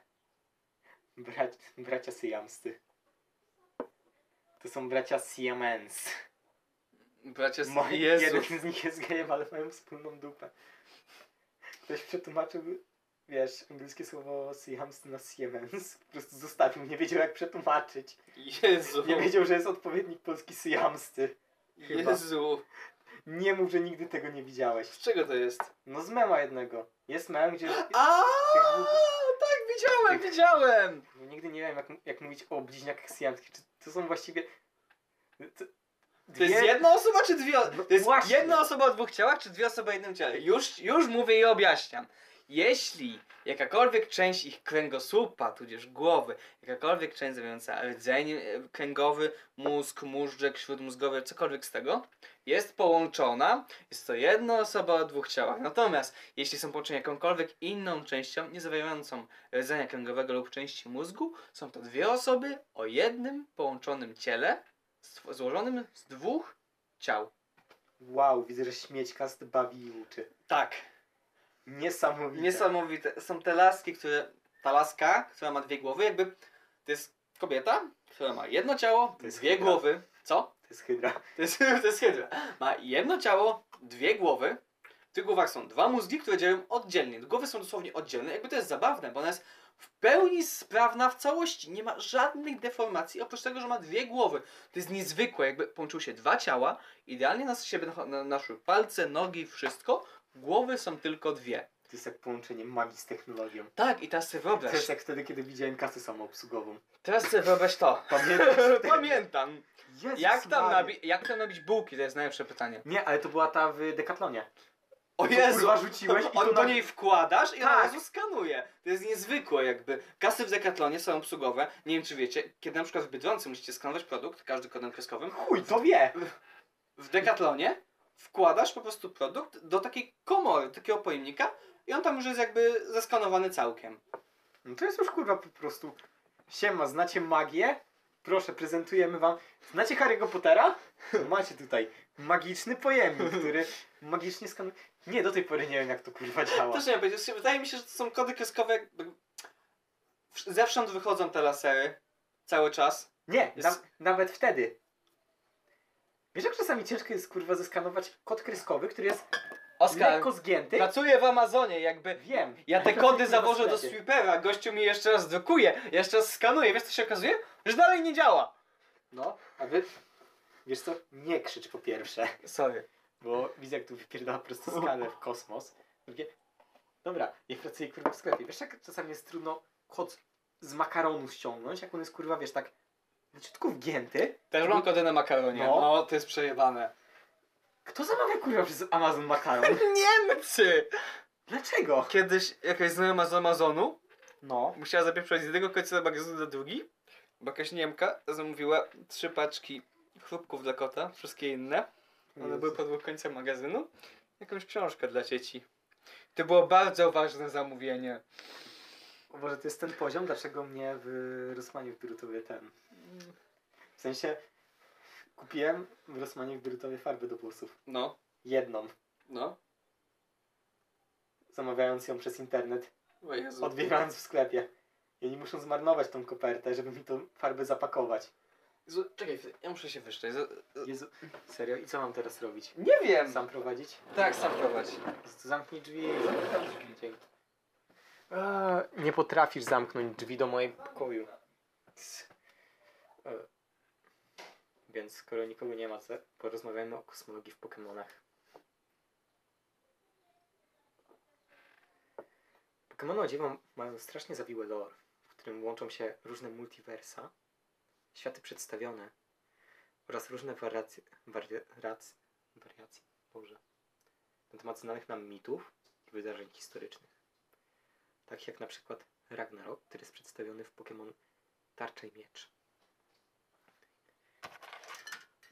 braci, bracia syjamscy. To są bracia Siamens.
Bracia,
Mo-
Moi Jezu.
jeden z nich jest gejem, ale mają wspólną dupę. Ktoś przetłumaczył, wiesz, angielskie słowo Siamscy na Siemens. Po prostu zostawił, nie wiedział jak przetłumaczyć.
Jezu.
Nie wiedział, że jest odpowiednik polski Syjamscy. chyba.
Jezu.
Nie mów, że nigdy tego nie widziałeś.
Z czego to jest?
No z mema jednego. Jest mem, gdzie...
A
dwóch-
tak widziałem, widziałem!
Bo nigdy nie wiem, jak, jak mówić o bliźniakach syjamskich. Czy to są właściwie. To,
To jest jedna osoba czy dwie?
No
To jest
właśnie.
jedna osoba o dwóch ciałach czy dwie osoby o jednym ciele? Już, już mówię i objaśniam. Jeśli jakakolwiek część ich kręgosłupa, tudzież głowy, jakakolwiek część zajmująca rdzeń e, kręgowy, mózg, móżdżek, śródmózgowy, cokolwiek z tego, jest połączona, jest to jedna osoba o dwóch ciałach. Natomiast jeśli są połączone jakąkolwiek inną częścią, nie zawierającą rdzenia kręgowego lub części mózgu, są to dwie osoby o jednym połączonym ciele, stw- złożonym z dwóch ciał.
Wow, widzę, że śmiećkast bawi i uczy.
Tak.
Niesamowite.
Niesamowite. Są te laski, które. Ta laska, która ma dwie głowy, jakby. To jest kobieta, która ma jedno ciało,
To jest
dwie
hydra.
głowy. Co?
To jest hydra.
To jest, to jest hydra. Ma jedno ciało, dwie głowy. W tych głowach są dwa mózgi, które działają oddzielnie. Głowy są dosłownie oddzielne. Jakby to jest zabawne, bo ona jest w pełni sprawna w całości. Nie ma żadnych deformacji, oprócz tego, że ma dwie głowy. To jest niezwykłe, jakby połączyły się dwa ciała, idealnie na siebie nach- na- naszły palce, nogi, wszystko. Głowy są tylko dwie.
To jest jak połączenie magii z technologią.
Tak, i teraz sobie wyobraź.
To jest jak wtedy, kiedy widziałem kasę samoobsługową.
Teraz sobie wyobraź to.
Pamiętasz?
Pamiętam.
Jezus
Jak tam,
Maria.
nabi- jak tam nabić bułki? To jest najlepsze pytanie.
Nie, ale to była ta w Decathlonie.
O
To
Jezu!
Kurwa rzuciłeś i to
On do
na...
niej wkładasz i ona
Tak.
od razu skanuje. To jest niezwykłe jakby. Kasy w Decathlonie są obsługowe. Nie wiem czy wiecie, kiedy na przykład w Bydlący musicie skanować produkt, każdy kodem kreskowym,
Chuj, to wie!
w Decathlonie wkładasz po prostu produkt do takiej komory, takiego pojemnika i on tam już jest jakby zeskanowany całkiem.
No to jest już kurwa po prostu... Siema, znacie magię? Proszę, prezentujemy wam... Znacie Harry'ego Pottera? No Macie tutaj magiczny pojemnik, który magicznie skanuje... Nie, do tej pory nie wiem jak to kurwa działa.
Też nie wiem, powiedzieć, wydaje mi się, że to są kody kreskowe jakby... Wsz- Zewsząd wychodzą te lasery. Cały czas.
Nie,
Jest-
na, nawet wtedy. Wiesz jak czasami ciężko jest kurwa zeskanować kod kreskowy, który jest lekko zgięty?
pracuję w Amazonie, jakby
Wiem.
Ja te
Pracuję,
kody
kurwa, w
zawożę do
sklepie.
sweepera, gościu mi jeszcze raz drukuje, jeszcze raz skanuje, wiesz co się okazuje? Że dalej nie działa.
No, a wy... Wiesz co? Nie krzycz po pierwsze.
Sorry.
Bo widzę, jak tu wypierdala po prostu skalę w kosmos. Drugie, dobra, ja pracuję kurwa w sklepie. Wiesz, jak czasami jest trudno kod z makaronu ściągnąć, jak on jest kurwa, wiesz, tak leciutko wgięty.
Też mam kody na makaronie.
No.
No, to jest przejebane.
Kto zamawia kurwa przez Amazon makaron?
Niemcy!
Dlaczego?
Kiedyś jakaś znajoma z Amazonu
No.
musiała zapieprzać z jednego końca do magazynu do drugi, bo jakaś Niemka zamówiła trzy paczki chrupków dla kota, wszystkie inne. One były pod dwóch końca magazynu. Jakąś książkę dla dzieci. To było bardzo ważne zamówienie.
O Boże, to jest ten poziom, dlaczego mnie w Rosmanie w Birutowie ten... W sensie, kupiłem w Rosmanie w Birutowie farby do włosów.
No,
Jedną.
no.
Zamawiając ją przez internet.
O Jezu.
odbierając w sklepie. I oni muszą zmarnować tą kopertę, żeby mi tą farbę zapakować.
Jezu, czekaj, chwilę, ja muszę się wyszczeć.
Jezu, serio? I co mam teraz robić?
Nie wiem.
Sam prowadzić?
Tak, sam prowadź.
Jezu, Zamknij drzwi. Zamykam drzwi. Dzięki. Eee, nie potrafisz zamknąć drzwi do mojego pokoju. Eee, Więc skoro nikogo nie ma, co? porozmawiamy o kosmologii w Pokemonach. Pokemony o dziwo mają strasznie zawiłe lore, w którym łączą się różne multiversa, światy przedstawione oraz różne wariacje, wariacje, wariacje, boże, na temat znanych nam mitów i wydarzeń historycznych. Tak jak na przykład Ragnarok, który jest przedstawiony w Pokémon Tarcza i Miecz.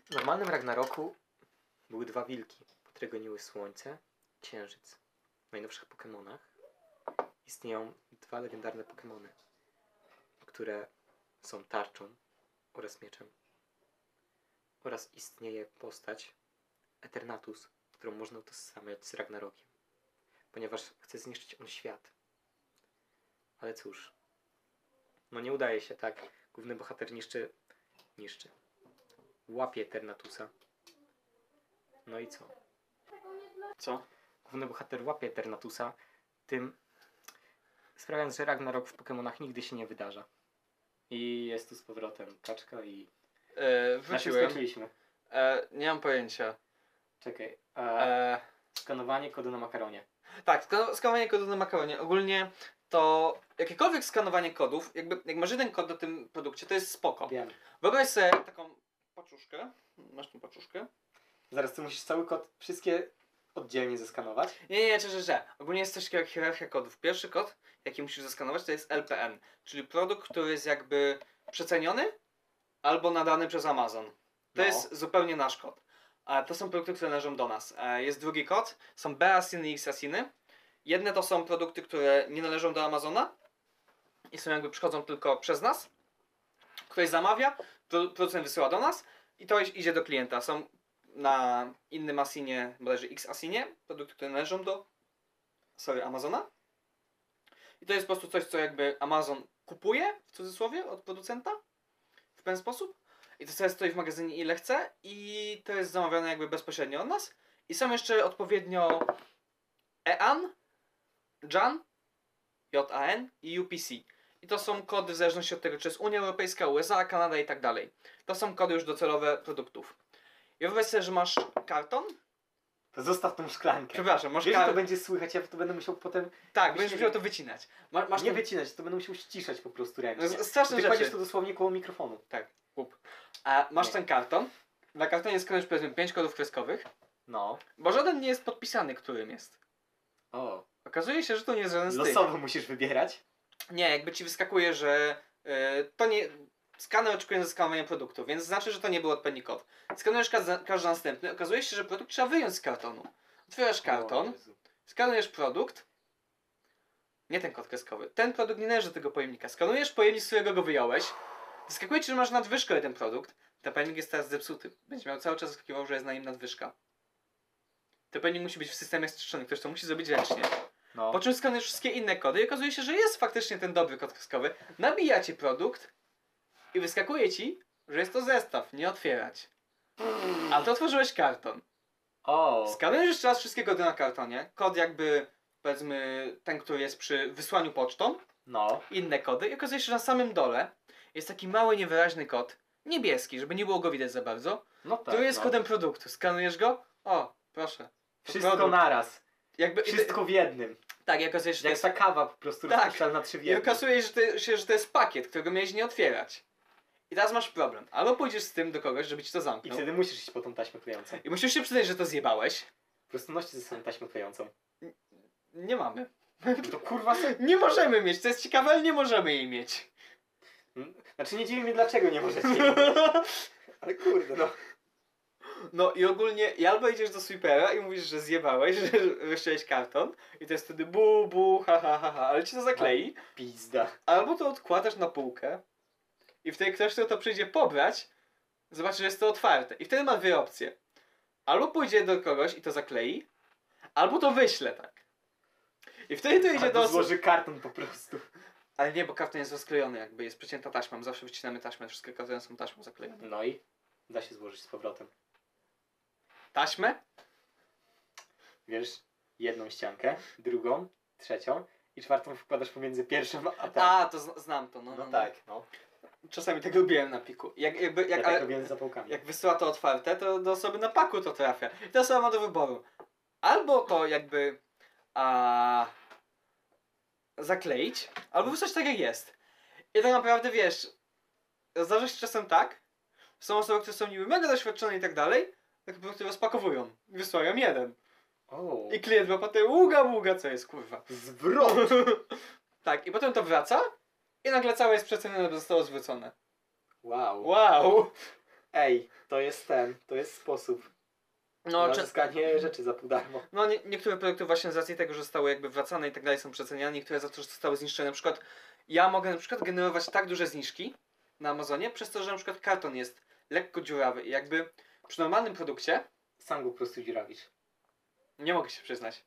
W normalnym Ragnaroku były dwa wilki, które goniły słońce, księżyc. W najnowszych Pokemonach istnieją dwa legendarne Pokemony, które są tarczą oraz mieczem. Oraz istnieje postać Eternatus, którą można utożsamiać z Ragnarokiem, ponieważ chce zniszczyć on świat. Ale cóż, no nie udaje się, tak? Główny bohater niszczy, niszczy. Łapie Eternatusa. No i co?
Co?
główny bohater łapie Eternatusa, tym sprawiając, że Ragnarok w Pokemonach nigdy się nie wydarza. I jest tu z powrotem kaczka i...
E,
Na czym
wróciłem.
skończyliśmy?
E, nie mam pojęcia.
Czekaj. E,
E,
skanowanie kodu na makaronie.
tak, sko- skowanie kodu na makaronie. Ogólnie to jakiekolwiek skanowanie kodów, jakby jak masz jeden kod na tym produkcie, to jest spoko.
Wiem.
Wyobraź sobie taką paczuszkę. Masz tą paczuszkę?
Zaraz ty musisz cały kod, wszystkie oddzielnie zeskanować.
Nie, nie, że, że, że. Ogólnie jest coś takiego jak hierarchia kodów. Pierwszy kod, jaki musisz zeskanować, to jest LPN, czyli produkt, który jest jakby przeceniony albo nadany przez Amazon. To
No.
jest zupełnie nasz kod. A to są produkty, które należą do nas. E, Jest drugi kod, są B asiny i X asiny. Jedne to są produkty, które nie należą do Amazona i są jakby przychodzą tylko przez nas. Ktoś zamawia, pro- producent wysyła do nas i to iż- idzie do klienta. Są na innym asinie, bodajże X asinie, produkty, które należą do sorry, Amazona. I to jest po prostu coś, co jakby Amazon kupuje, w cudzysłowie, od producenta w ten sposób. I to sobie stoi w magazynie ile chce i to jest zamawiane jakby bezpośrednio od nas. I są jeszcze odpowiednio EAN, JAN, JAN i UPC. I to są kody w zależności od tego, czy jest Unia Europejska, USA, Kanada i tak dalej. To są kody już docelowe produktów. I wyobraź sobie, że masz karton.
To zostaw tą szklankę.
Przepraszam, masz
Wiesz, że to
karton.
będzie słychać, ja to będę musiał potem
Tak, będziesz
Myślę, że-
musiał to wycinać. Ma, masz
nie
tą-
wycinać, to będę musiał ściszać po prostu
No,
ręcznie.
z- Straszne
Ty kładziesz
rzeczy.
to dosłownie koło mikrofonu.
A masz
Nie.
ten karton. Na kartonie jest skanujesz powiedzmy 5 kodów kreskowych,
No.
bo żaden nie jest podpisany, którym jest.
O.
Okazuje się, że to nie jest żaden z tych.
Losowo musisz wybierać.
Nie, jakby ci wyskakuje, że y, to nie. Skaner oczekuje na skanowanie produktu, więc znaczy, że to nie był odpowiedni kod. Skanujesz ka- każdy następny, okazuje się, że produkt trzeba wyjąć z kartonu. Otwierasz
O
karton,
Jezu.
skanujesz produkt. Nie ten kod kreskowy. Ten produkt nie należy do tego pojemnika. Skanujesz pojemnik, z którego go wyjąłeś. Wyskakuje ci, że masz nadwyżkę ten produkt. Ten pojemnik jest teraz zepsuty. Będzie miał cały czas zaskakiwał, że jest na nim nadwyżka. Ten pojemnik musi być w systemie streszczony. Ktoś to musi zrobić ręcznie.
No.
Po czym skanujesz wszystkie inne kody i okazuje się, że jest faktycznie ten dobry kod kreskowy. Nabija ci produkt i wyskakuje ci, że jest to zestaw, nie otwierać. A ty otworzyłeś karton.
O.
Skanujesz jeszcze raz wszystkie kody na kartonie. Kod jakby, powiedzmy, ten, który jest przy wysłaniu pocztą.
No.
Inne kody. I okazuje się, że na samym dole jest taki mały, niewyraźny kod. Niebieski, żeby nie było go widać za bardzo.
No tak.
tu jest
no.
kodem No, produktu. Skanujesz go. O, proszę. To
Wszystko
produkt.
naraz.
Jakby,
Wszystko w jednym.
Tak, i okazuje się, że to
Jak
jest
ta kawa po prostu
Tak.
rozpuszczalna trzy w
I
jednym.
okazuje się, że to- się, że to jest pakiet, którego miałeś nie otwierać. I teraz masz problem. Albo pójdziesz z tym do kogoś, żeby ci to
I
zamknął. I,
wtedy musisz iść po tą taśmę klejącą.
musisz się przyznać, że to zjebałeś.
Po prostu noście ze sobą taśmę klejącą.
Nie mamy.
To kurwa se...
Nie możemy mieć, to jest ciekawe, ale nie możemy jej mieć.
Znaczy nie dziwi mnie dlaczego nie możecie. jej- Ale kurde no.
No i ogólnie, i albo idziesz do sweepera i mówisz, że zjebałeś, że wyszczeliłeś karton i to jest wtedy bu, bu, ha, ha, ha, ha, ale ci to zaklei.
Pizda.
Albo to odkładasz na półkę i wtedy ktoś, kto to przyjdzie pobrać, zobaczy, że jest to otwarte. I wtedy ma dwie opcje. Albo pójdzie do kogoś i to zaklei, albo to wyśle tak. I wtedy to idzie do
Albo
osób...
złoży karton po prostu.
Ale nie, bo karton jest rozklejony jakby, jest przecięta taśmą. Zawsze wycinamy taśmę, wszystkie kartony są taśmą zaklejone.
No i da się złożyć z powrotem.
Taśmę?
Wiesz, jedną ściankę, drugą, trzecią i czwartą wkładasz pomiędzy pierwszą a tą.
A, to zn- znam to, no, no,
No
no.
tak, no.
Czasami tak robiłem na piku. Jak, jakby, jak,
ja
ale-
tak robiłem z zapałkami.
jak wysyła to otwarte, to do osoby na paku to trafia. I ta osoba ma do wyboru. Albo to jakby a, zakleić, albo wysłać tak jak jest. I tak naprawdę wiesz, zdarza się czasem tak, są osoby, które są niby mega doświadczone i tak dalej, tak po prostu rozpakowują. Wysyłają jeden.
O,
I klient ma potem ługa, ługa, co jest kurwa.
zwrot!
tak, i potem to wraca i nagle całe jest przecenione, bo zostało zwrócone.
Wow.
Wow!
Ej, to jest ten, to jest sposób
No,
na
czy,
zyskanie rzeczy za pół darmo.
No nie, niektóre projekty właśnie z racji tego, że zostały jakby wracane i tak dalej są przeceniane, niektóre za to, że zostały zniszczone. Na przykład ja mogę na przykład generować tak duże zniżki na Amazonie, przez to, że na przykład karton jest lekko dziurawy i jakby przy normalnym produkcie,
Sam go po prostu dziurawisz.
nie mogę się przyznać,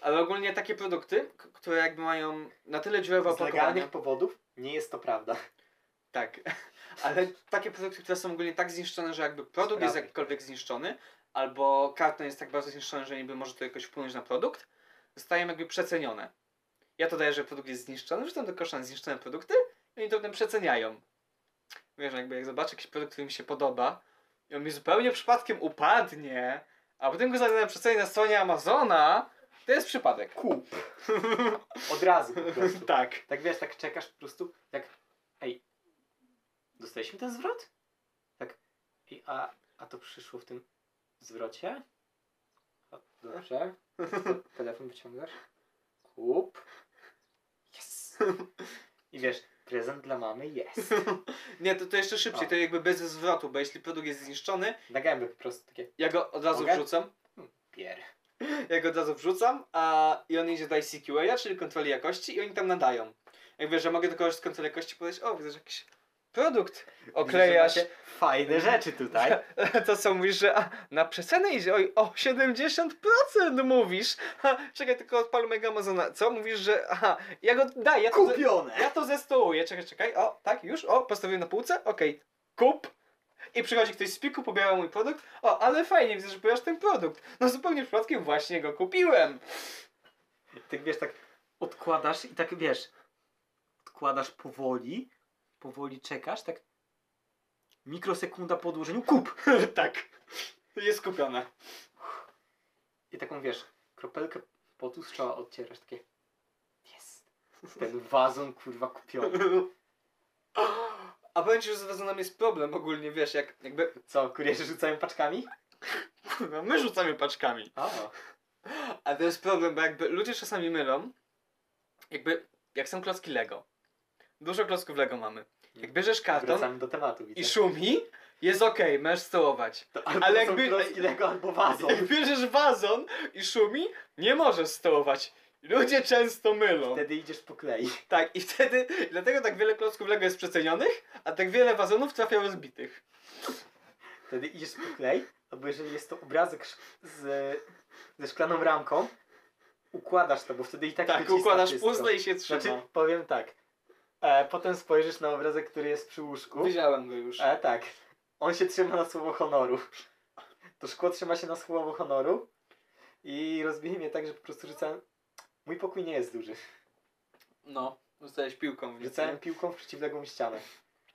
ale ogólnie takie produkty, k- które jakby mają na tyle dziurawe
Z
opakowanie,
legalnych powodów nie jest to prawda.
tak, ale takie produkty, które są ogólnie tak zniszczone, że jakby produkt jest
Sprawy.
jakkolwiek zniszczony, albo karton jest tak bardzo zniszczony, że niby może to jakoś wpłynąć na produkt, zostają jakby przecenione. Ja to daję, że produkt jest zniszczony, wrzucam do kosza na zniszczone produkty i oni to potem przeceniają. Wiesz, jakby jak zobaczę jakiś produkt, który mi się podoba i on mi zupełnie przypadkiem upadnie, a potem go za- przecenię na stronie Amazona, To jest przypadek.
Kup. Od razu po prostu.
tak.
Tak wiesz, tak czekasz po prostu, tak, ej, dostaliśmy ten zwrot? Tak, ej, a, a to przyszło w tym zwrocie? O, dobrze, to telefon wyciągasz, kup, yes. I wiesz, prezent dla mamy jest.
Nie, to, to jeszcze szybciej,
O.
to jakby bez zwrotu, bo jeśli produkt jest zniszczony,
Na gębę po prostu takie,
ja go od razu
Mogę?
wrzucam.
pier.
Ja go od razu wrzucam, a i on idzie do ICQA, czyli kontroli jakości, i oni tam nadają. Jak wiesz, że mogę do kogoś z kontroli jakości powiedzieć, o, widzę, że jakiś produkt oklejasz.
Widzę, że Tak? macie Fajne rzeczy tutaj.
To co mówisz, że a, na przecenę idzie, oj, o 70% mówisz. Ha, czekaj, tylko odpalmy Amazona. Co mówisz, że aha, ja go daję, ja to, ze,
Kupione!
ja to zestołuję. Czekaj, czekaj, o, tak, już, o, postawiłem na półce, okej, kup. I przychodzi ktoś z piku, pobiera mój produkt. O, ale fajnie, widzę, że pobierasz ten produkt. No zupełnie przypadkiem właśnie go kupiłem.
Ty wiesz, tak odkładasz i tak wiesz, odkładasz powoli, powoli czekasz, tak mikrosekunda po odłożeniu, kup!
tak, jest kupione.
I taką wiesz, kropelkę potu z czoła odcierasz, takie jest. Ten wazon kurwa kupiony.
A powiem ci, że z wezonami jest problem ogólnie, wiesz, jak jakby...
Co, kurierzy rzucają paczkami?
Kurwa, my rzucamy paczkami.
O,
Ale to jest problem, bo jakby ludzie czasami mylą, jakby jak są klocki Lego. Dużo klocków Lego mamy. Jak bierzesz karton
wracamy do tematu, widzę.
i szumi, jest okej, możesz stołować.
to albo
ale
ale
jakby-
jakby... Lego, albo
Jak
wazon.
bierzesz wazon i szumi, nie możesz stołować. Ludzie często mylą.
Wtedy idziesz po klei.
Tak, i wtedy, dlatego tak wiele klocków Lego jest przecenionych, a tak wiele wazonów trafia rozbitych.
Wtedy idziesz po klej, albo jeżeli jest to obrazek sz- z, ze szklaną ramką, układasz to, bo wtedy i tak
Tak,
wyciska
układasz
wszystko.
puzzle i się trzyma.
Znaczy, powiem tak. E, potem spojrzysz na obrazek, który jest przy łóżku.
Widziałem go już.
E, tak. On się trzyma na słowo honoru. To szkło trzyma się na słowo honoru i rozbije mnie tak, że po prostu rzucałem... Mój pokój nie jest duży.
No, zostałeś piłką. w
Rzucałem
nicy.
piłką w przeciwległą ścianę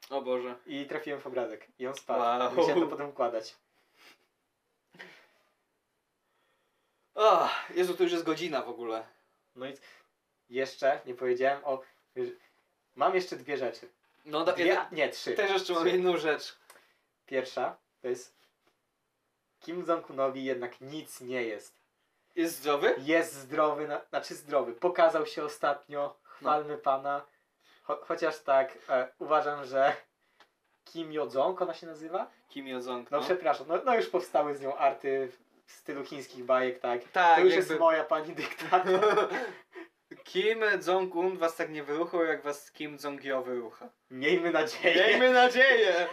O Boże.
i trafiłem w obrazek. I on spadł.
Wow.
Musiałem to potem układać.
O, Oh, Jezu, to już jest godzina w ogóle.
No i jeszcze nie powiedziałem o... Mam jeszcze dwie rzeczy.
No, da,
Dwie,
ja
a- nie, trzy.
też jeszcze mam jedną rzecz.
Pierwsza to jest... Kim Jong-unowi jednak nic nie jest.
Jest zdrowy?
Jest zdrowy, na, znaczy zdrowy. Pokazał się ostatnio, chwalmy
No.
pana. Cho, chociaż tak, e, uważam, że Kim Jodzong ona się nazywa?
Kim Jong-un.
No, przepraszam, no, no już powstały z nią arty w stylu chińskich bajek, tak.
tak,
to już
jakby...
jest moja pani dyktator.
Kim Jong-un was tak nie wyruchał, jak was Kim Jong-il wyrucha.
Miejmy nadzieję.
Miejmy nadzieję!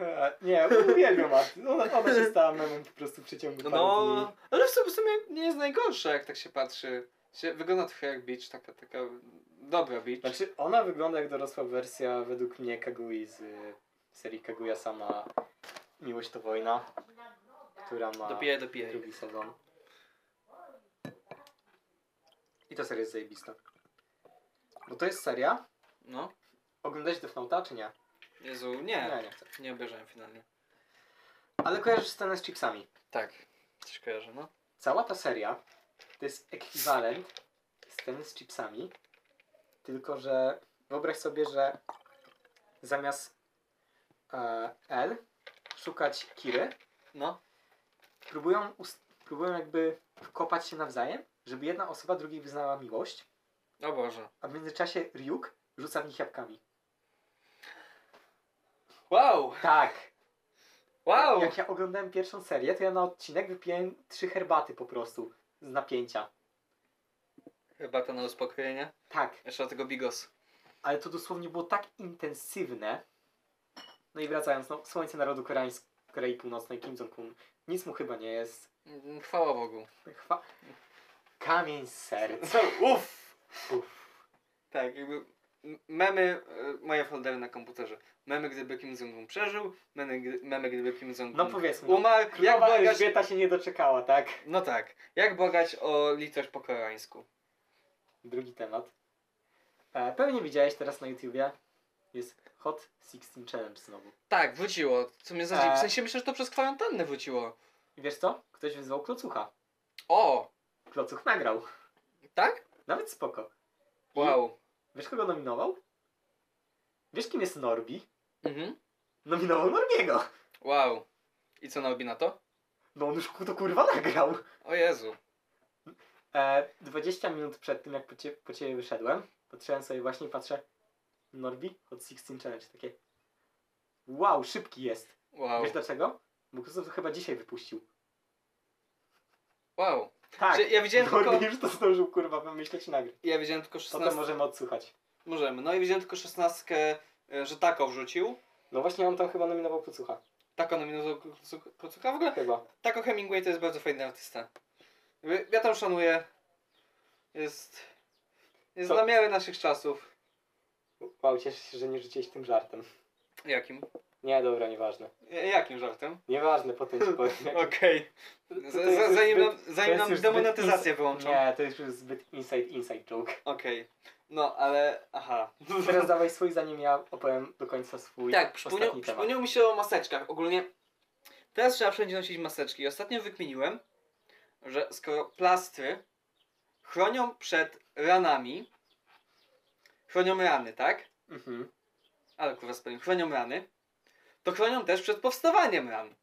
E, Nie, uwielbiam arty. Ona, ona się stała memem po prostu w przeciągu paru dni.
No, ale w sumie, w sumie nie jest najgorsza, jak tak się patrzy. Się, wygląda trochę jak beach, taka, taka dobra beach.
Znaczy, ona wygląda jak dorosła wersja według mnie Kagui z y, serii Kaguya sama Miłość to wojna, która ma
Dopiję, dopiję.
drugi sezon. I ta seria jest zajebista. Bo to jest seria.
No.
Oglądałeś Deathnota, czy nie?
Jezu,
Nie,
nie.
nie chcę.
Nie obejrzałem finalnie.
Ale kojarzysz scenę z chipsami.
Tak. Coś kojarzę, no.
Cała ta seria to jest ekwiwalent sceny z chipsami, tylko że wyobraź sobie, że zamiast e, L szukać Kiry,
No.
próbują, ust- próbują jakby kopać się nawzajem, żeby jedna osoba drugiej wyznała miłość,
O Boże.
a w międzyczasie Ryuk rzuca w nich jabłkami.
Wow!
Tak!
Wow!
Jak ja oglądałem pierwszą serię, to ja na odcinek wypiłem trzy herbaty po prostu z napięcia.
Chyba to na uspokojenie.
Tak,
Jeszcze do tego bigos.
ale to dosłownie było tak intensywne. No i wracając, no, Słońce Narodu Koreańs- Korei Północnej, Kim Jong-un, nic mu chyba nie jest.
Mm, Chwała Bogu.
Chwa... Kamień z serc.
Uff!
Uff.
Tak, jakby m- memy, e, moje foldery na komputerze. Memy, gdyby Kim Jong-un przeżył, memy, gdy- memy gdyby Kim Jong-un
No powiedzmy, no,
umarł. Jak
Królowa
błagać...
Elżbieta się nie doczekała, tak?
No tak, jak błagać o litość po koreańsku?
Drugi temat. E, pewnie widziałeś teraz na YouTubie. Jest Hot 16 Challenge znowu.
Tak, wróciło. Co mnie zadziwi.
E.
W sensie myślę, że to przez kwarantannę wróciło.
I wiesz co? Ktoś wyzwał klocucha.
O!
Klocuch nagrał.
Tak?
Nawet spoko.
Wow.
Wiesz, kogo nominował? Wiesz, kim jest Norbi?
Mhm.
Nominował Norbiego.
Wow. I co Norbi na to?
No on już ku- to kurwa nagrał.
O Jezu.
E, 20 minut przed tym, jak po, cie, po ciebie wyszedłem, patrzyłem sobie właśnie i patrzę Norbi od 16 Challenge. Takie wow, szybki jest.
Wow.
Wiesz dlaczego? Bo Krzysztof to chyba dzisiaj wypuścił.
Wow.
Tak,
Czy ja widziałem tylko...
Norbi już to zdążył kurwa wymyśleć i nagrać.
Ja widziałem tylko
Potem
16.
możemy odsłuchać. Możemy.
No i widziałem tylko 16, e, że Tako wrzucił.
No właśnie on tam chyba nominował podsłucha.
Tako nominował Klocu- Klocuka. W ogóle
Chyba.
Tako Hemingway to jest bardzo fajny artysta. Jakby Ja tam szanuję. Jest... Jest
Co?
na miarę naszych czasów.
Wow, cieszę się, że nie rzuciłeś tym żartem.
Jakim?
Nie, dobra, nieważne.
E, Jakim żartem?
Nieważne, potem ci powiem.
Okej.
To- to
Z-
jest
z-
już zbyt-
No, Zanim nam,
to
zanim
jest
nam
już zbyt
demonetyzację
ins-
wyłączą.
Nie, to jest już zbyt inside, inside joke.
Okej. No, ale... Aha.
Teraz dawaj swój, zanim ja opowiem do końca swój
Tak, przypomniał,
ostatni temat.
przypomniał mi się o maseczkach. Ogólnie teraz trzeba wszędzie nosić maseczki. Ostatnio wykminiłem, że skoro plastry chronią przed ranami, chronią rany, tak?
Mhm.
Ale kurwa spaliłem, chronią rany, to chronią też przed powstawaniem ran.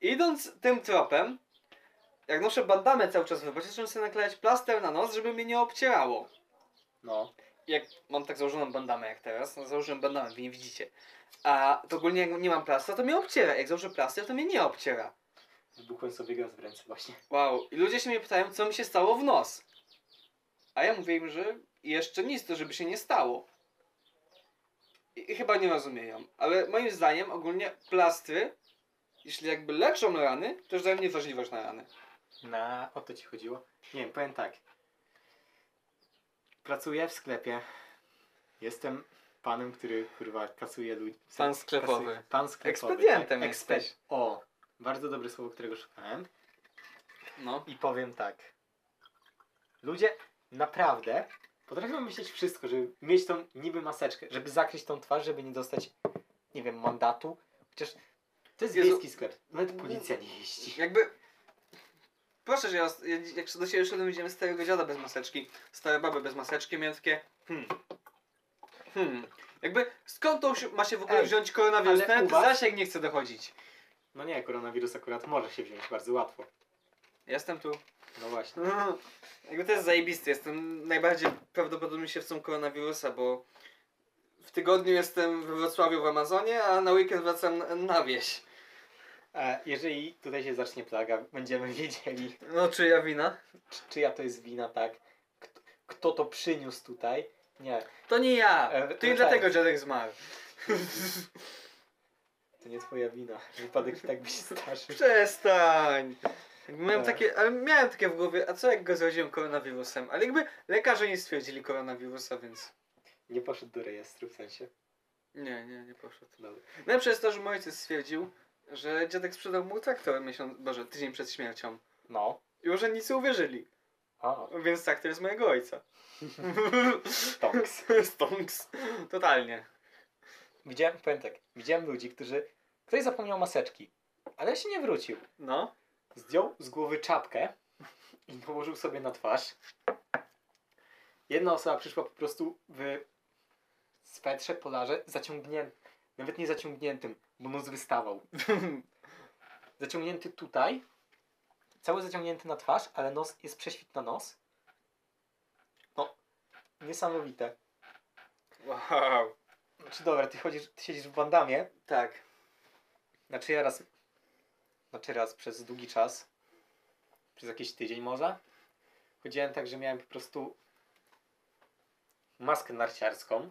Idąc tym tropem, jak noszę bandamę cały czas w robocie, zacząłem sobie naklejać plaster na nos, żeby mnie nie obcierało
No.
jak mam tak założoną bandamę jak teraz, no założyłem bandamę, wy nie widzicie. A to ogólnie jak nie mam plastra, to mnie obciera. Jak założę plaster, to mnie nie obciera.
Wybuchłem sobie gaz w ręce właśnie.
Wow. I ludzie się mnie pytają, co mi się stało w nos. A ja mówię im, że jeszcze nic, to żeby się nie stało. I, i chyba nie rozumieją. Ale moim zdaniem ogólnie plastry, jeśli jakby leczą rany, to już dają niewrażliwość na rany.
Na, o to ci chodziło? Nie wiem, powiem tak. Pracuję w sklepie. Jestem panem, który kurwa kasuje ludzi.
Pan sklepowy.
kasuje- Pan sklepowy.
Ekspediantem
Ekspe-
jesteś.
O, bardzo dobre słowo, którego szukałem.
No.
I powiem tak. Ludzie naprawdę potrafią myśleć wszystko, żeby mieć tą niby maseczkę, żeby zakryć tą twarz, żeby nie dostać, nie wiem, mandatu. Chociaż to jest
Jezu.
wiejski sklep. Nawet policja nie jeździ.
Jakby. Proszę, że ja, os- ja dzi- jak do siebie szedłem, widziałem starego dziada bez maseczki, stare baby bez maseczki, miałem takie. Hmm. Hmm. Jakby skąd to się- ma się w ogóle
Ej,
wziąć koronawirus?
ale u
Nawet
was-
zasięg nie chce dochodzić.
No nie, koronawirus akurat może się wziąć bardzo łatwo.
Jestem tu.
No właśnie.
Jakby to jest zajebisty. Jestem najbardziej prawdopodobnie się w koronawirusa, bo w tygodniu jestem we Wrocławiu w Amazonie, a na weekend wracam na- na wieś.
E, jeżeli tutaj się zacznie plaga, będziemy wiedzieli,
No czyja wina?
czy, czyja to jest wina, tak? Kto, kto to przyniósł tutaj? Nie,
To nie ja.
E,
To nie
tak.
dlatego dziadek zmarł.
to nie twoja wina. Wypadek i tak by się starszy.
Przestań! Miałem
Tak.
takie, ale miałem takie w głowie, a co jak go zaraziłem koronawirusem? Ale jakby lekarze nie stwierdzili koronawirusa, więc
Nie poszedł do rejestru, w sensie.
nie, nie, nie poszedł.
Dobra.
Najlepsze jest to, że mój ojciec stwierdził, że dziadek sprzedał mu traktor miesiąc, boże, tydzień przed śmiercią.
No.
I urzędnicy uwierzyli,
A,
więc traktor jest mojego ojca.
Tonks.
Stonks. Totalnie.
Widziałem, powiem tak, widziałem ludzi, którzy... Ktoś zapomniał maseczki, ale się nie wrócił.
No.
Zdjął z głowy czapkę i położył sobie na twarz. Jedna osoba przyszła po prostu w swetrze, polarze, zaciągniętym, nawet nie zaciągniętym, bo nos wystawał. Zaciągnięty tutaj, cały zaciągnięty na twarz, ale nos jest prześwit na nos. No, niesamowite.
Wow.
Znaczy dobra, ty chodzisz, ty siedzisz w bandamie,
Tak.
Znaczy ja raz, znaczy raz przez długi czas, przez jakiś tydzień może, chodziłem tak, że miałem po prostu maskę narciarską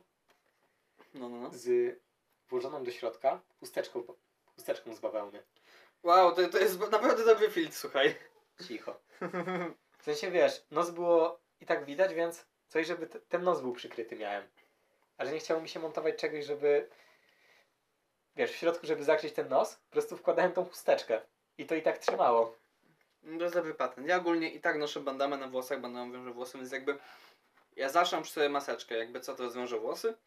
No, no, no.
z włożoną do środka chusteczką, chusteczką z bawełny.
Wow, to, to jest naprawdę dobry filtr, słuchaj.
Cicho. W sensie wiesz, nos było i tak widać, więc coś, żeby t- ten nos był przykryty miałem. A że nie chciało mi się montować czegoś, żeby wiesz, w środku, żeby zakryć ten nos, po prostu wkładałem tą chusteczkę. I to i tak trzymało.
No To jest dobry patent. Ja ogólnie i tak noszę bandamę na włosach, bandamę wiążę włosy, więc jakby ja zawsze przy sobie maseczkę, jakby co to rozwiążę włosy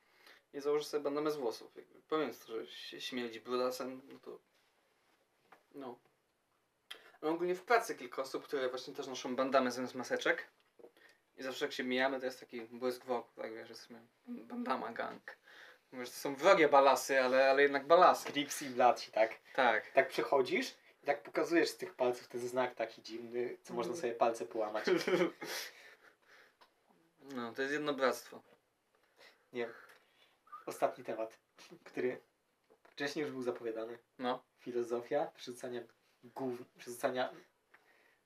i założę sobie bandamę z włosów. Jakby powiem, że się śmierdzi brudasem, no to no. Mam ogólnie w pracy kilka osób, które właśnie też noszą bandamę zamiast maseczek. I zawsze jak się mijamy, to jest taki błysk wokół, tak wiesz, jesteśmy bandama gang. Mówisz, to są wrogie balasy, ale, ale jednak balasy.
Grips i blaci, tak?
Tak.
Tak przychodzisz i tak pokazujesz z tych palców ten znak taki dziwny, co można sobie palce połamać.
No, to jest jedno bractwo.
Ostatni temat, który wcześniej już był zapowiadany.
No.
Filozofia przerzucania, gówn, przerzucania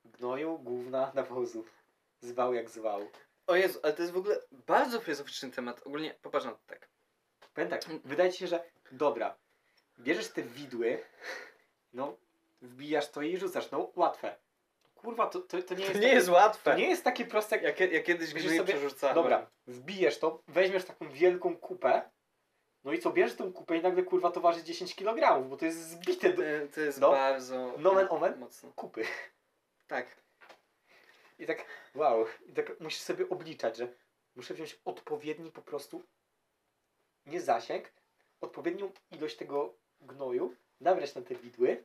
gnoju, gówna na wozu. Zwał jak zwał.
O Jezu, ale to jest w ogóle bardzo filozoficzny temat. Ogólnie popatrz na to tak.
Powiem tak, wydaje ci się, że dobra, bierzesz te widły, no, wbijasz to i rzucasz, no, łatwe. Kurwa, to, to, to nie jest takie,
łatwe.
to nie jest takie proste, jak,
Ja, kie- ja kiedyś
Myślisz
gnoje
sobie,
przerzucałem.
dobra, wbijesz to, weźmiesz taką wielką kupę, no i co, bierzesz tą kupę i nagle, kurwa, to waży 10 kg, bo to jest zbite
To,
do
to jest
No.
bardzo
Nomen omen.
mocno.
kupy.
Tak.
I tak, wow, i tak musisz sobie obliczać, że muszę wziąć odpowiedni po prostu, nie zasięg, odpowiednią ilość tego gnoju, nabrać na te widły,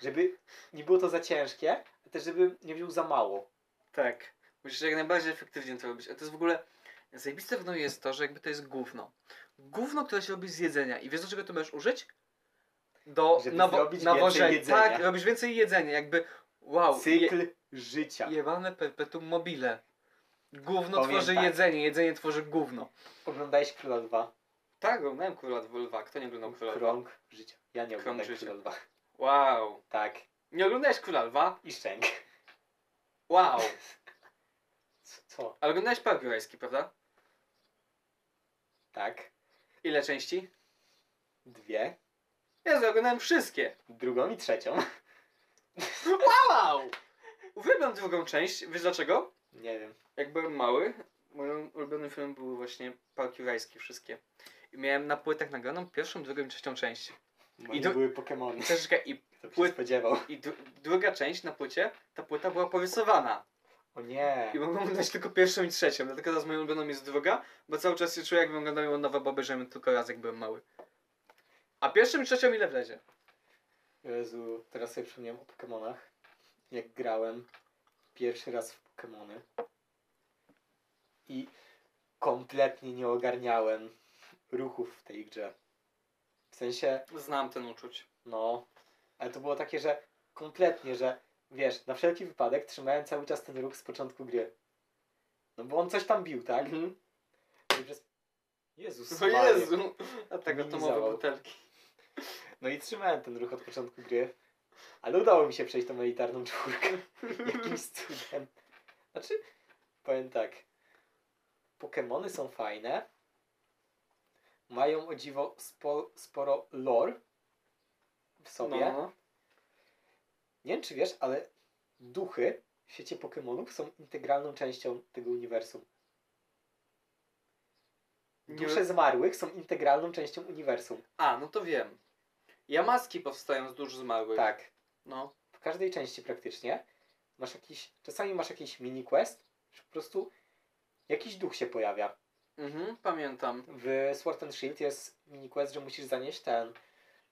żeby nie było to za ciężkie, a też żeby nie wziął za mało.
Tak. Musisz jak najbardziej efektywnie to robić. A to jest w ogóle. Zajebiste w Noje jest to, że jakby to jest gówno. Gówno, które się robi z jedzenia. I wiesz, do czego to możesz użyć? Do
Żeby
nawo-
zrobić
nawożenia.
więcej jedzenia.
Tak, robisz więcej jedzenia. Jakby. Wow.
Cykl życia.
Jebane perpetuum mobile. Gówno
Powiem
tworzy
tak.
jedzenie, jedzenie tworzy gówno.
Oglądałeś Króla 2.
Tak, oglądałem Króla Lwa. Kto nie oglądał No, Króla Lwa?
Krąg życia. Ja nie
Krąg
oglądałem
życia.
Króla 2.
Wow.
Tak.
Nie oglądałeś Króla Lwa?
I Szczęk.
Wow.
C- Co?
Ale oglądałeś Park Jurajski, prawda?
Tak.
Ile części?
Dwie.
Jezu, oglądałem wszystkie.
Drugą i trzecią.
Wow. Uwielbiam drugą część. Wiesz dlaczego?
Nie wiem.
Jak byłem mały, moim ulubionym filmem były właśnie Park Jurajski wszystkie. I miałem na płytach nagraną pierwszą, drugą i trzecią część.
Moje
do-
były Pokemony.
Troszeczkę i,
Kto by się
Płyt-
spodziewał.
i dru- druga część na płycie, ta płyta była porysowana.
O nie.
I mogłem oglądać tylko pierwszą i trzecią, dlatego teraz moją ulubioną jest druga, bo cały czas się czuję jakbym oglądał ją nowe boby, że tylko raz jak byłem mały. A pierwszą i trzecią ile wlezie?
Jezu, teraz sobie przypomniałem o Pokemonach. Jak grałem pierwszy raz w Pokemony i kompletnie nie ogarniałem ruchów w tej grze. W sensie,
Znam ten uczuć.
no, ale to było takie, że kompletnie, że wiesz, na wszelki wypadek trzymałem cały czas ten ruch z początku gry. No bo on coś tam bił, tak?
Mhm.
I przez... Jezus,
O
Maria.
No Jezu! A tak
Minimizował.
atomowe butelki.
No i trzymałem ten ruch od początku gry. Ale udało mi się przejść tą elitarną czwórkę. Jakimś cudem. Znaczy, powiem tak. Pokemony są fajne. Mają o dziwo spo, sporo lore w sobie.
No, no.
Nie wiem, czy wiesz, ale duchy w świecie Pokemonów są integralną częścią tego uniwersum.
Nie-
Dusze zmarłych są integralną częścią uniwersum.
A, no to wiem. Jamaski powstają z dusz zmarłych.
Tak.
No.
w każdej części praktycznie masz jakiś, czasami masz jakiś mini quest, że po prostu jakiś duch się pojawia.
Mhm, pamiętam.
W Sword and Shield jest mini quest, że musisz zanieść ten.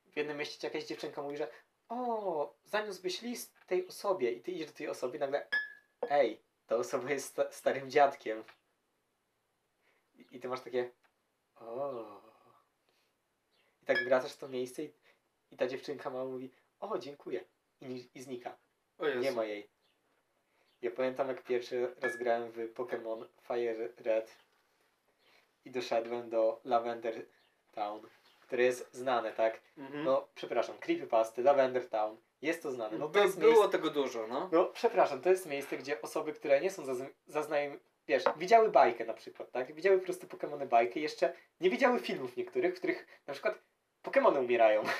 W jednym mieście ci jakaś dziewczynka mówi, że o, zaniósłbyś list tej osobie i ty idziesz do tej osoby i nagle ej, ta osoba jest sta- starym dziadkiem. I, I ty masz takie o. I tak wracasz w to miejsce i, i ta dziewczynka mała mówi o, dziękuję. I, ni- i znika.
O Jezu.
Nie ma jej. Ja pamiętam jak pierwszy raz grałem w Pokémon Fire Red i doszedłem do Lavender Town, które jest znane, tak?
Mhm.
No, przepraszam, Creepypasty, Lavender Town, jest to znane. No, to
By-
jest
było
miejsce,
tego dużo, no.
no, przepraszam, to jest miejsce, gdzie osoby, które nie są zazn- zaznajomione, wiesz, widziały bajkę na przykład, tak? Widziały po prostu Pokémony bajkę i jeszcze nie widziały filmów niektórych, w których na przykład Pokémony umierają.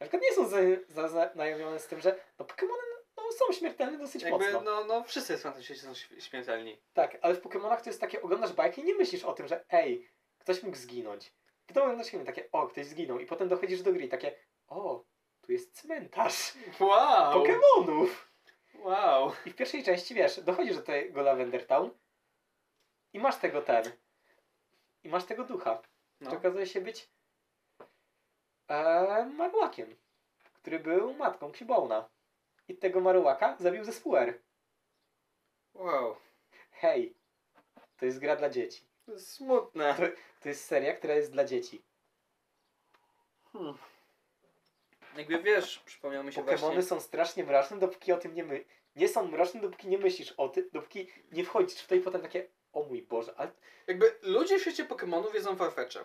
Na przykład nie są za- zaznajomione z tym, że no Pokémony no, są śmiertelne dosyć
Jakby,
mocno.
no, no wszyscy na tym świecie są śm- śmiertelni.
Tak, ale w Pokémonach to jest takie, oglądasz bajkę i nie myślisz o tym, że ej, ktoś mógł zginąć. Potem oglądasz filmy takie, o, ktoś zginął i potem dochodzisz do gry i takie, o, tu jest cmentarz
Wow!
Pokémonów.
Wow!
I w pierwszej części, wiesz, dochodzisz do tego Lavender Town i masz tego ten. I masz tego ducha.
No.
Który okazuje się być e, marłakiem, który był matką Kibona. i tego marułaka zabił zespół R.
Wow.
Hej, to jest gra dla dzieci.
To jest smutne.
To jest seria, która jest dla dzieci.
Hmm. Jakby wiesz, przypomniał mi się
Pokemony
właśnie...
są strasznie mroczne, dopóki o tym nie my... Nie są mroczne, dopóki nie myślisz o tym, dopóki nie wchodzisz w to i potem takie, o mój Boże, ale
Jakby ludzie w świecie Pokemonów jedzą farfetcze.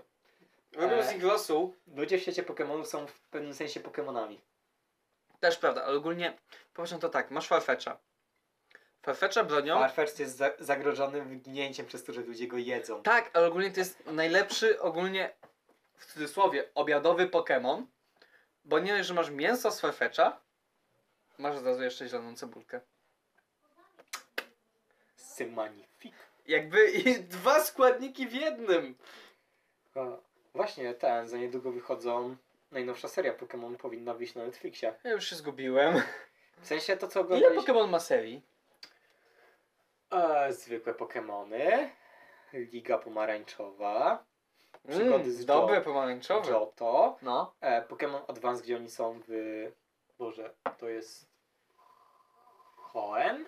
Robią
Eee.
z ich losu.
ludzie w świecie Pokemonów są w pewnym sensie Pokemonami.
Też prawda, ale ogólnie popatrz na to tak, masz farfetcha. Farfetcha bronią.
Farfetch jest za zagrożony wyginięciem przez to, że ludzie go jedzą.
Tak, ale ogólnie to jest najlepszy, ogólnie w cudzysłowie, obiadowy Pokémon. Bo nie dość, że masz mięso z farfetcha, masz od razu jeszcze zieloną cebulkę.
C'est magnifique.
Jakby i dwa składniki w jednym.
O, Właśnie ten, za niedługo wychodzą. Najnowsza seria Pokémon powinna wyjść na Netflixie.
Ja już się zgubiłem.
W sensie to, co
Ile
oglądaliśmy...
Pokémon ma serii?
E, zwykłe Pokémony. Liga Pomarańczowa. Przygody z
Dobre
Joe.
pomarańczowe.
Johto.
No.
E, Pokémon Advance, gdzie oni są w... Boże, to jest... Hoenn.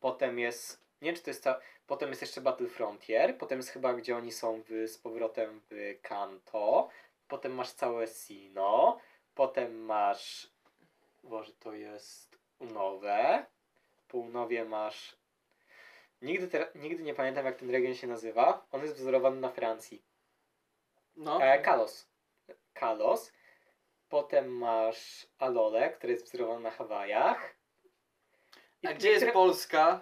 Potem jest... Nie wiem, czy to jest ta... Potem jest jeszcze Battle Frontier. Potem jest chyba, gdzie oni są w... z powrotem w Kanto. Potem masz całe Sino. Potem masz... Boże, to jest Unowe. Po Unowie masz... Nigdy, te... Nigdy nie pamiętam, jak ten region się nazywa. On jest wzorowany na Francji.
No.
E, Kalos. Kalos. Potem masz Alole, która jest wzorowana na Hawajach. I
A gdzie jest
niektóre-
Polska?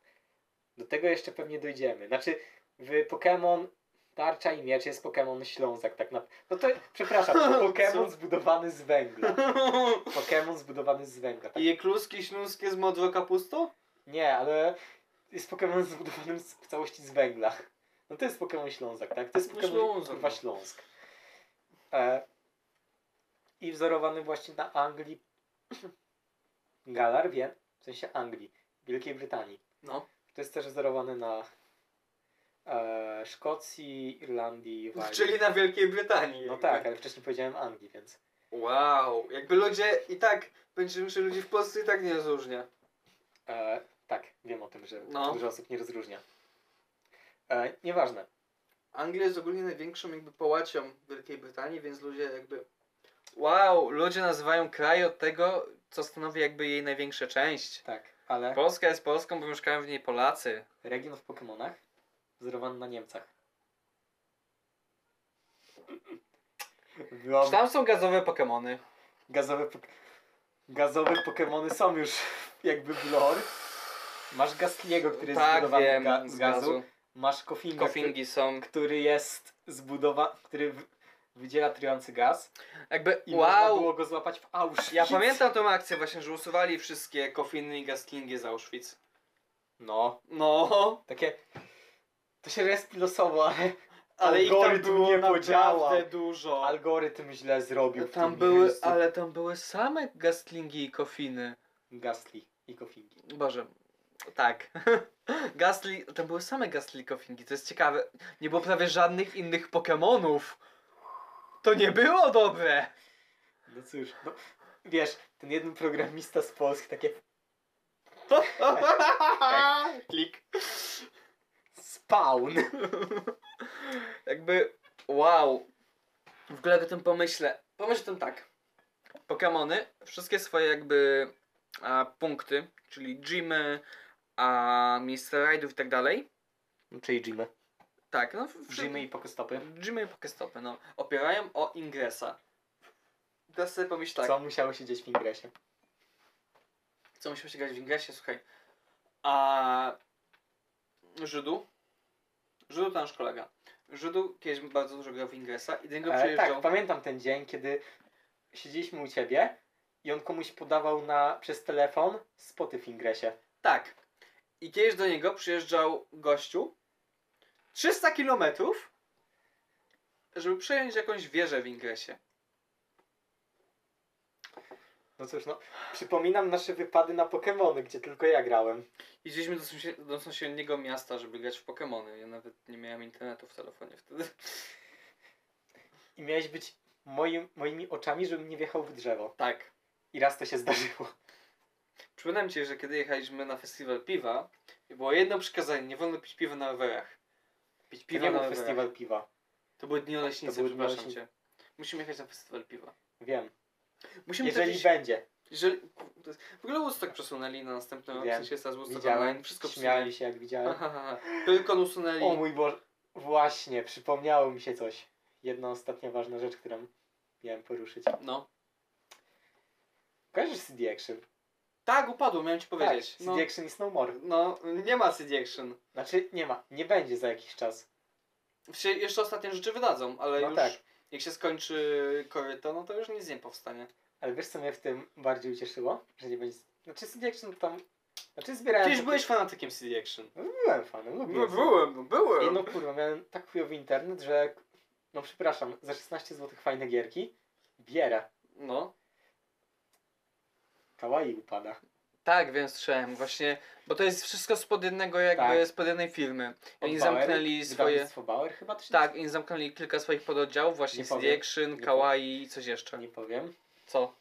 Do tego jeszcze pewnie dojdziemy. Znaczy, w Pokémon Tarcza i Miecz jest Pokémon Ślązak, tak naprawdę. No to, przepraszam,
Co?
Pokémon zbudowany z węgla. Pokémon zbudowany z węgla. Tak.
I Jekluski śląskie z modrą kapustą?
Nie, ale jest Pokémon zbudowany z, w całości z węgla. No to jest Pokémon Ślązak, tak? To jest
No
Pokémon
Ślązak,
kurwa
no.
Śląsk. E, I wzorowany właśnie na Anglii. Galar, wiem, w sensie Anglii, Wielkiej Brytanii.
No.
To jest też wzorowany na e, Szkocji, Irlandii, Walii.
No, Czyli na Wielkiej Brytanii.
No
jakby.
tak, ale wcześniej powiedziałem Anglii, więc.
Wow. Jakby ludzie i tak, będziemy że ludzi w Polsce i tak nie rozróżnia.
E, tak, wiem o tym, że
No.
dużo osób nie rozróżnia. E, nieważne.
Anglia jest ogólnie największą jakby połacią Wielkiej Brytanii, więc ludzie jakby... Wow, ludzie nazywają kraj od tego, co stanowi jakby jej największa część.
Tak, ale.
Polska jest Polską, bo mieszkają w niej Polacy.
Region w Pokemonach wzorowany na Niemcach. Byłam...
Czy tam są gazowe Pokemony?
Gazowe, pok- gazowe Pokemony są już jakby w lore. Masz Gastliego, który jest
tak,
zbudowany
wiem,
ga-
z gazu.
Masz Kofinga, który,
Kofingi są...
który jest zbudowany, który w- wydziela trujący gaz
Jakby,
i można
wow,
było go złapać w Auschwitz.
Ja pamiętam tą akcję właśnie, że usuwali wszystkie kofiny i gastlingi z Auschwitz.
No,
No,
takie... To się respi losowo, ale
ale ich tam
Algorytm
było
nie podziałał.
naprawdę dużo.
algorytm źle zrobił. w
Tam
tym
były,
miejscu.
ale tam były same gastlingi i kofiny.
Gastli i Kofingi.
Boże, tak. Gastli, tam były same gastli i kofingi, to jest ciekawe. Nie było prawie żadnych innych Pokemonów. To nie było dobre.
No cóż, no, wiesz, ten jeden programista z Polski takie
Tak. Klik.
spawn.
Jakby, wow. W ogóle jak o tym pomyślę. Pomyśl o tym tak. Pokemony, wszystkie swoje jakby a, punkty, czyli gymy, a, miejsca rajdów i tak dalej.
No, Czyli Jimmy.
Tak, no. wszy-
Jimmy i pokestopy.
Gymy i pokestopy, no. Opierają o ingresa. Teraz sobie pomyśl tak.
Co musiało się dzieć w ingresie?
co musimy się grać w ingresie, słuchaj. A Żydu? Żydu to nasz kolega. Żydu kiedyś bardzo dużo grał w ingresa i do niego
E,
No, przyjeżdżał...
tak, pamiętam ten dzień, kiedy siedzieliśmy u ciebie i on komuś podawał na, przez telefon spoty w ingresie.
Tak. I kiedyś do niego przyjeżdżał gościu 300 kilometrów, żeby przejąć jakąś wieżę w Ingresie.
No cóż, no, przypominam nasze wypady na Pokemony, gdzie tylko ja grałem.
Jeździliśmy do, sąsi- do sąsiedniego miasta, żeby grać w Pokemony. Ja nawet nie miałem internetu w telefonie wtedy.
I miałeś być moim, moimi oczami, żebym nie wjechał w drzewo.
Tak.
I raz to się zdarzyło.
Przypominam ci, że kiedy jechaliśmy na festiwal piwa, było jedno przykazanie, nie wolno pić piwa na rowerach. Pić
Piwa
piwa
nie
na
był
rowerach.
festiwal piwa.
To były dni
To
oleśnicy,
były dni
przepraszam
Oleśnicy.
cię. Musimy jechać na festiwal piwa.
Wiem.
Musimy
Jeżeli
to gdzieś...
będzie.
Jeżeli... to jest- W ogóle Woodstock przesunęli na następny rok, w
Wiem.
sensie teraz Woodstock online,
Widziałem.
wszystko
Śmiali się jak widziałem.
przesunęli. Tylko usunęli...
O mój Boże. Właśnie, przypomniało mi się coś. Jedna ostatnia ważna rzecz, którą miałem poruszyć.
No.
Kojarzysz CD Action?
Tak, upadło, miałem ci powiedzieć.
Tak,
no,
CD Action is no more.
no, nie ma CD Action.
Znaczy, nie ma. Nie będzie za jakiś czas.
Wsi- Jeszcze ostatnie rzeczy wydadzą, ale
No
już
tak.
jak się skończy koryto, no to już nic nie powstanie.
Ale wiesz co mnie w tym bardziej ucieszyło? Że nie będzie... Znaczy CD Action tam... Znaczy zbierałem...
Przecież
takie-
byłeś fanatykiem CD Action.
No, byłem fanem, lubiłem.
No,
sobie.
byłem, no,
Ej,
byłem.
no kurwa, miałem tak chujowy internet, że... No przepraszam, za 16 zł fajne gierki. Biera.
No.
Kawaii upada.
Tak, więc słyszałem właśnie, bo to jest wszystko spod jednego jakby,
Tak.
spod jednej firmy.
Od
Oni
Bauer,
zamknęli swoje...
Wydawnictwo Bauer chyba to się
Tak, oni zamknęli kilka swoich pododdziałów, właśnie
Nie
CD
powiem.
Action,
Nie
Kawaii i coś
nazywa?
jeszcze.
Nie powiem.
Co?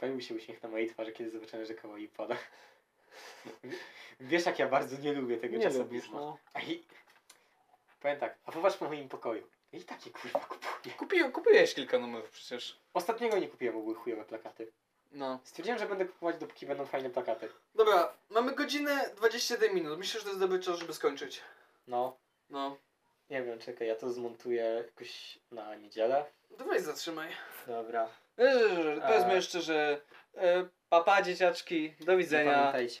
Pojawił się uśmiech na mojej twarzy, kiedy zobaczyłem, że kawaii upada. Wiesz, jak ja bardzo nie lubię tego czasopisma.
no.
A I... Powiem tak, a popatrz po moim pokoju. I takie kurwa kupuję.
Kupi, kupiłeś kilka numerów przecież.
Ostatniego nie kupiłem, bo były chujowe plakaty.
No.
Stwierdziłem, że będę kupować, dopóki będą fajne plakaty.
Dobra, mamy godzinę 21 minut. Myślę, że to jest dobry czas, żeby skończyć.
No,
No.
nie wiem, czekaj, ja to zmontuję jakoś na niedzielę.
Dawaj, zatrzymaj.
Dobra.
Eee, Powiedzmy
Eee.
jeszcze, że e, papa, dzieciaczki, do widzenia.
Pamiętajcie.